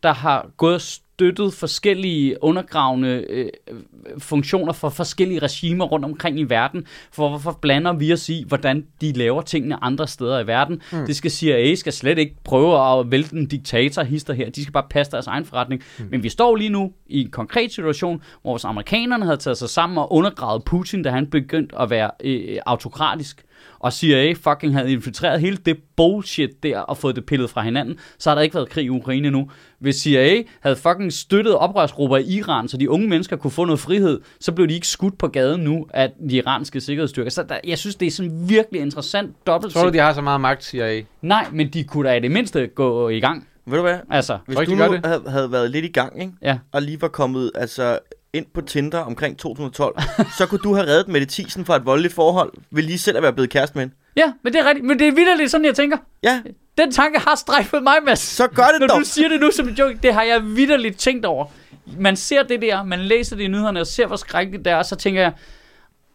der har gået og støttet forskellige undergravende øh, øh, funktioner for forskellige regimer rundt omkring i verden. For hvorfor blander vi os i, hvordan de laver tingene andre steder i verden? Mm. Det skal CIA skal slet ikke prøve at vælte en diktator hister her. De skal bare passe deres egen forretning. Mm. Men vi står lige nu i en konkret situation, hvor hvis amerikanerne havde taget sig sammen og undergravet Putin, da han begyndte at være øh, autokratisk, og CIA fucking havde infiltreret hele det bullshit der og fået det pillet fra hinanden, så har der ikke været krig i Ukraine nu. Hvis CIA havde fucking støttet oprørsgrupper i Iran, så de unge mennesker kunne få noget frihed, så blev de ikke skudt på gaden nu af de iranske sikkerhedsstyrker. Så der, jeg synes, det er sådan virkelig interessant dobbelt.
Tror du, de har så meget magt, siger jeg.
Nej, men de kunne da i det mindste gå i gang.
Ved du hvad?
Altså,
Hvis
Tror I,
du
de
nu
gør det?
havde, havde været lidt i gang, ikke?
ja.
og lige var kommet altså, ind på Tinder omkring 2012, så kunne du have reddet Mette Thiesen fra et voldeligt forhold, ved lige selv at være blevet kæreste med hende.
Ja, men det er rigtigt. Men det er vildt sådan, jeg tænker.
Ja,
Den tanke har strejfet mig, Mads.
så gør det
Når
dog.
du siger det nu som en joke, det har jeg vidderligt tænkt over. Man ser det der, man læser det i nyhederne, og ser, hvor skrækkeligt det er, og så tænker jeg,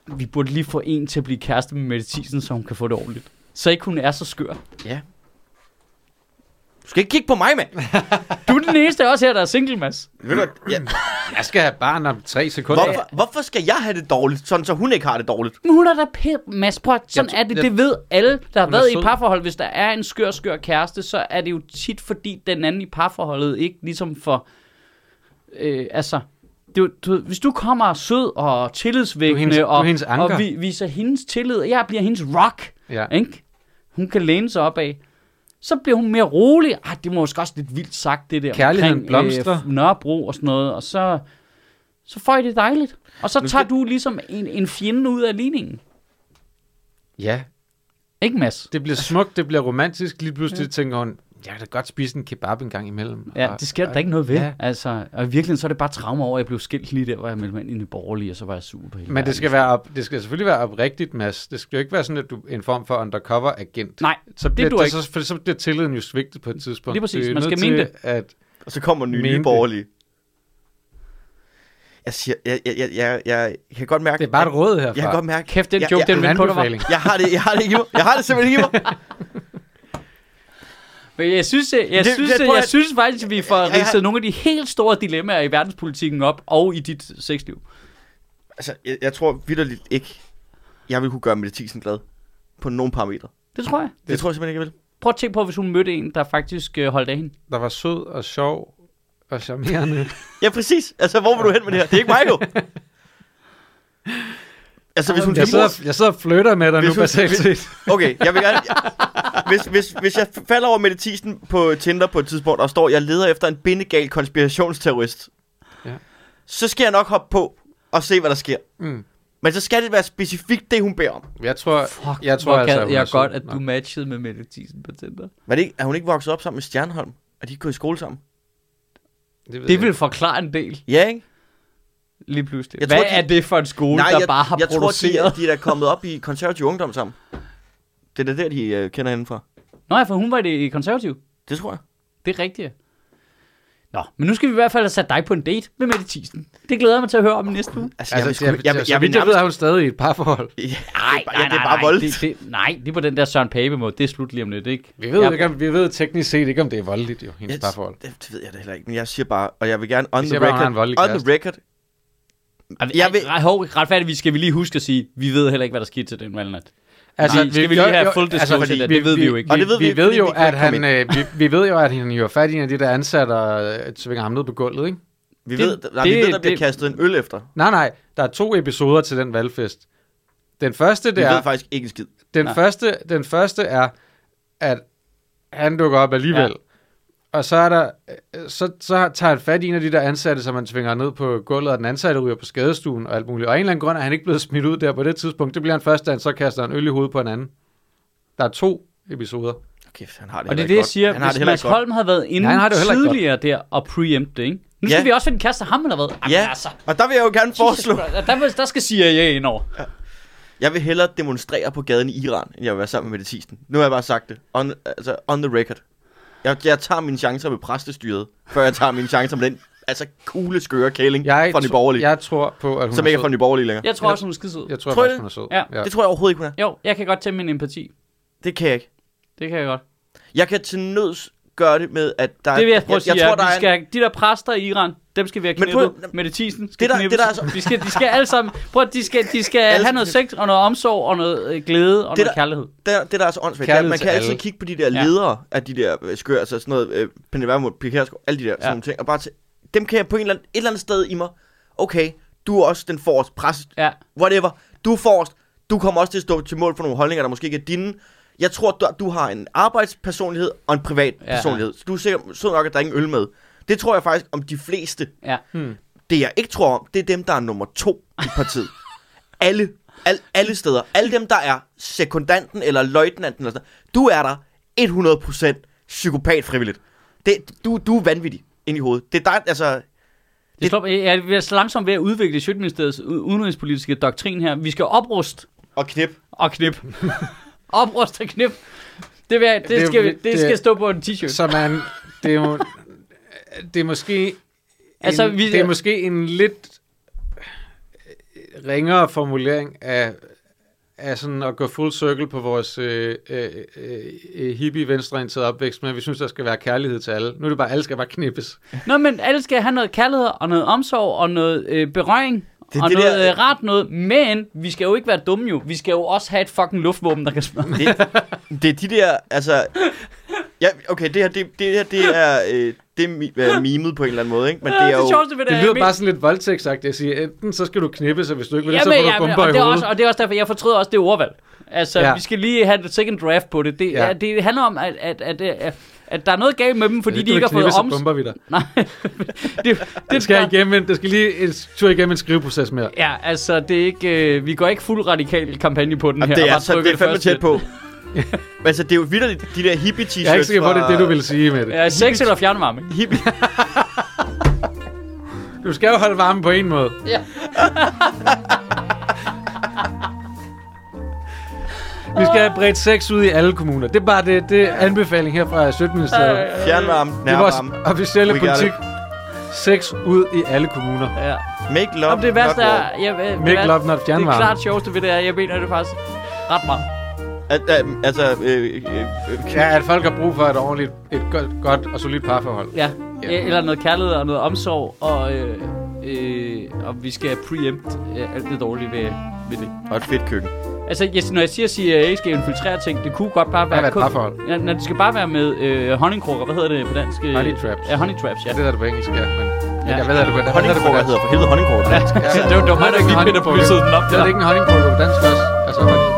vi burde lige få en til at blive kæreste med Mette Thiesen, så hun kan få det ordentligt. Så ikke hun er så skør.
Ja. Du skal ikke kigge på mig, mand.
Du er den eneste også her, der er single, Mads.
Ved du, hvad? ja.
Jeg skal have barn om tre sekunder.
hvorfor, hvorfor skal jeg have det dårligt, sådan så hun ikke har det dårligt?
Men hun er da pæd, Mads. Prøv, at- sådan
Jeg-
er det.
jeg-
Det ved alle, der har
Hun er
været i
sød.
et parforhold. Hvis der er en skør, skør kæreste, så er det jo tit, fordi den anden i parforholdet ikke ligesom for... Øh, altså, det, er jo- du, ved, hvis du kommer sød og tillidsvækkende
Du er hendes- du er
og,
hendes
og
anker.
vi, viser hendes tillid, og jeg bliver hendes rock,
Ja.
ikke? hun kan læne sig op af, så bliver hun mere rolig. Ej, det må måske også lidt vildt sagt, det der
Kærligheden
omkring,
blomstrer.
Øh, Nørrebro og sådan noget. Og så, så får I det dejligt. Og så
Nu
tager
skal-
du ligesom en, en fjende ud af ligningen.
Ja,
Ikke, Mads?
det bliver smukt, det bliver romantisk. Lige pludselig ja. tænker hun, jeg kan da godt spise en kebab en gang imellem.
Ja,
Og-
det sker der ikke noget ved. Ja.
Ja.
Altså, og i virkeligheden, så er det bare traume over, at jeg blev skilt lige der, hvor jeg meldte mig ind i Nye Borgerlige, og så var jeg super på hele
Men
verden.
det skal, være op, det skal selvfølgelig være oprigtigt, Mads. Det skal jo ikke være sådan, at du er en form for undercover-agent.
Nej,
så bliver
duer
det,
ikke.
Så, for så bliver tilliden jo svigtet på et tidspunkt.
Lige præcis.
Du er
Man
nødt
skal mene
til At,
Og så kommer nye,
Mente.
nye borgerlige. Jeg siger, jeg, jeg, jeg, jeg, jeg kan godt mærke...
det er bare et råd herfra.
Jeg kan godt mærke...
Kæft, den
jeg,
joke,
jeg,
den vendte på dig, var.
anbefaling.
jeg, har det, jeg har det ikke i mig. Jeg har det simpelthen ikke i mig.
Men jeg synes, jeg, jeg, det,
Det-
synes,
det-
det,
prøv
jeg
at-
synes faktisk, at vi får
Jeg- jeg-
ridset nogle af de helt store dilemmaer i verdenspolitikken op, og i dit sexliv.
Altså, jeg, jeg tror vidderligt ikke, jeg vil kunne gøre Mette Thiesen glad. På nogen parametre.
Det tror jeg.
Det, det tror jeg simpelthen ikke, jeg vil.
Prøv at tænke på, hvis hun mødte en, der faktisk øh, holdt af hende.
Der var sød og sjov og charmerende.
Ja, præcis. Altså, hvor vil du hen med det her? Det er ikke mig, jo. altså, hvis hun
jeg,
skal
sidder, jeg sidder og flytter med dig
Hvis
nu,
hun-
basalt set.
Okay, jeg vil gerne... Hvis, hvis, hvis jeg falder over Mette Thiesen på Tinder på et tidspunkt, og står, jeg leder efter en bindegal konspirationsterrorist,
Ja.
ja. så skal jeg nok hoppe på og se, hvad der sker.
Mm.
Men så skal det være specifikt det, hun beder om.
Jeg tror,
Fuck,
jeg tror
hvor
altså,
gad
hun er
jeg
sød.
godt, at
Nå.
du matchede med Mette Thiesen på Tinder.
Var det ikke, er hun ikke vokset op sammen med Stjernholm? Er de ikke gået i skole sammen?
ved
Det
jeg
vil forklare en del,
Ja, ikke?
lige pludselig.
Jeg
Hvad
tror,
er det for en skole, der
jeg,
bare har
jeg
produceret?
tror, de, er- de er da kommet op i konservativ ungdom sammen. Det er da der, de øh, kender hende fra.
Nå ja, for hun var det konservativ.
Det tror jeg.
Det er rigtigt. Nå, men nu skal vi i hvert fald have sat dig på en date med Mette Thiesen. Det glæder jeg mig til at høre om i næste uge.
Altså,
Altså,
vil
jeg,
sgu-
jeg, jeg, jeg, jeg,
vil
jeg, jeg, jeg
nærmest-
ved, at hun stadig i et parforhold.
Nej,
bare- ja, det er bare vold.
Det, det, nej, det er på den der Søren Pape måde. Det er slut lige om lidt, ikke?
Vi ved,
Jeg-
ikke, om, vi ved teknisk set ikke, om det er voldeligt, jo, hendes
Jeg-
parforhold.
Det, det ved jeg da heller ikke, men jeg siger bare, og jeg vil gerne on
Jeg
the
siger bare, hun har
record,
en voldelig
on
kæreste.
the record,
Jeg
Jeg
vil...
vil-
Altså, Ej, hov, retfærdigvis skal vi lige huske at sige, vi ved heller ikke, hvad der skete til den valgnat.
Altså,
Vi- skal vi lige have full disclosure
fordi
der? Det ved vi jo ikke.
Vi,
Og det ved vi
vi
ikke,
ved
fordi
jo,
vi kan
at
ikke komme
han, øh, vi, vi ved jo, at han hiver fat i en af de der ansatte og øh, tvinger ham ned på gulvet, ikke?
vi,
Det-
det, ved, nej, vi
det-
ved, der bliver
det-
kastet en øl efter.
Nej, nej, der er to episoder til den valgfest. Den første,
Vi
det er,
ved faktisk ikke en skid.
den
Nej.
første, den første er, at han dukker op alligevel.
Ja.
Ja. Og så er der, øh, så, så tager han fat i en af de der ansatte, som han tvinger ned på gulvet, og den ansatte ryger på skadestuen og alt muligt. Og af en eller anden grund er han ikke blevet smidt ud der på det tidspunkt. Det bliver han først, da han så kaster en øl i hovedet på en anden. Der er to episoder.
Kæft, han har det
Og det er det,
heller ikke
jeg
godt.
siger,
han har det
hvis
heller
Mads
ikke godt.
Holm havde været inde
Nej, han har det jo heller ikke
tidligere der og preempte, ikke? Nu skal
Ja.
vi også finde kast af ham, eller hvad? Jamen,
Ja,
altså,
og der vil jeg jo gerne foreslå,
der, vil- der skal CIA ind over.
jeg vil hellere demonstrere på gaden i Iran, end jeg vil være sammen med Mette Thiesen. Nu har jeg bare sagt det, on, altså on the record. Jeg, jeg tager mine chancer med præstestyret, før jeg tager mine chancer med den altså kugle, skøre kæling
Jeg,
fra Nye
tro-
Borgerlige,
Jeg tror på, at hun
som
er
ikke er
sød.
fra Nye Borgerlige længere.
Jeg tror også, hun er skidesød.
Jeg tror,
Tror I
faktisk,
det?
hun er sød.
Ja.
ja.
Det tror jeg overhovedet ikke, hun er.
Jo, jeg kan godt tage min empati.
Det kan jeg ikke.
Det kan jeg godt.
Jeg kan til nøds gøre det med, at der
Det vil jeg prøve at sige.
jeg, jeg tror, der
vi
er en-
skal, have- De der præster i Iran, dem skal vi have
Men prøv-
knippet. Prøv, Mette Thiesen skal
Det der- det
knippes.
der er så-
de, skal, de skal alle sammen... Prøv at de skal, de skal
Alle
have
skal
noget sex og noget omsorg og noget øh, glæde og
Det
noget
der-
kærlighed.
det, det der er så åndssvagt, det er,
Kærlighed
at man
til
kan
alle.
altid kigge på de der
Ja.
ledere af de der øh, skøre, altså sådan noget, øh, Pernille Vermund, Pia Kjærsgaard, alle de der ja. sådan nogle ting, og bare til, dem kan jeg på en eller anden, et eller andet sted i mig, okay, du er også den forrest, præst,
Ja.
whatever, du er forrest, du kommer også til at stå til mål for nogle holdninger, der måske ikke er dine, jeg tror, du, du har en arbejdspersonlighed og en privat
Ja.
ja. personlighed, så du er sikkert sød nok at drikke en øl med. Det tror jeg faktisk om de fleste.
Ja.
Det jeg ikke tror om, det er dem, der er nummer to i partiet. alle, al, alle steder. Alle dem, der er sekundanten eller løjtnanten. Eller sådan. noget. Du er der 100% psykopat frivilligt. Det, du, du er vanvittig ind i hovedet. Det er dig, altså...
Det slår, jeg jeg er så langsomt ved at udvikle Sjøtministeriets u- udenrigspolitiske doktrin her. Vi skal opruste
Og knip.
og knip. opruste og knip. Det, vil, jeg- det,
Det-
det, skal, det, det
det-
skal stå på en t-shirt.
Så man, det er jo, det er måske, en,
Altså,
altså,
vi-
vi, det er måske en lidt ringere formulering af, af sådan at gå full circle på vores øh, øh, øh, hippie venstreorienterede opvækst, men vi synes, der skal være kærlighed til alle. Nu er det bare, alle skal bare knippes.
Nå, men alle skal have noget kærlighed og noget omsorg og noget øh, berøring. Det,
Det er
og det
det
noget
der-
øh, rart noget, men vi skal jo ikke være dumme jo. Vi skal jo også have et fucking luftvåben, der kan smide.
Det er de der, altså... Ja, okay, det her, det, det her, det er... Øh, det er mi- øh, mimet på en eller anden måde, ikke? Men det er jo...
sjoveste ved
Det lyder bare sådan lidt voldtægtsagtigt at sige, enten så skal du knippes, og hvis du ikke vil det, så får du bomber
og,
i
det er
hovedet.
også, og det er også derfor, jeg fortryder også det ordvalg. Altså, ja.
Ja.
vi skal lige have et second draft på det. Det, ja.
Ja.
det handler om, at, at, at, at, at at der er noget galt med dem, fordi
Hvis
de
du
ikke har fået
knipper, så
oms...
bomber vi dig.
Nej, det,
Det skal, igennem, en- det skal lige en tur igennem en skriveproces mere.
Ja, altså, det er ikke, øh, vi går ikke fuld radikal kampagne på den her.
Jamen, det
og
er,
bare
så, det
trykker
er fandme
først
tæt
lidt.
på. Men altså, det er jo vildt, de der hippie-t-shirts
Jeg er ikke sikker på,
fra...
det er det, du vil sige med det.
Ja, sex eller fjernvarme.
Hippie,
Du skal jo holde varmen på en måde.
Ja.
Vi skal have bredt sex ud i alle kommuner. Det er bare det, det er anbefaling her fra 17. ministeriet.
fjernvarme,
Det er vores
nærvarme.
officielle
We got
politik. Sex ud i alle kommuner.
ja.
Make love,
Jamen, det
not
værste
war.
er... Jeg, jeg,
Make love, not
Det er
fjernvarme.
klart sjoveste ved det er, jeg mener det faktisk ret meget.
At, at, altså, øh, øh, øh,
Ja, at folk har brug for et ordentligt, et godt, godt og solidt parforhold.
Ja.
Ja.
ja. Eller noget kærlighed og noget omsorg, og, øh, øh, og vi skal preempt øh, alt det dårlige ved, ved det.
og et fedt køkken.
Altså, jeg, når jeg siger, at CIA skal infiltrere ting, det kunne godt bare være...
være et
kun-
parforhold.
Ja, når det skal bare være med øh, honningkrukker. Hvad hedder det på dansk? øh?
Honey traps.
Ja, honey traps, ja.
Det er det på engelsk, ja. Men
Ja.
ja. jeg ved, at det på dansk.
Honningkrukker hedder for helvede honningkrukker. på dansk.
Ja, det var, det var mig, der ikke lige Peter pyssede den op
Det
der.
er det ikke en honningkrukke det er på dansk først. Altså honning.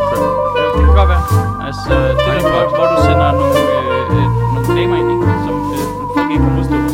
Det kan godt være. Altså, det er der, hvor, hvor du sender øh, nogle, øh, øh, nogle damer ind, ikke? som øh, folk ikke kan modstå.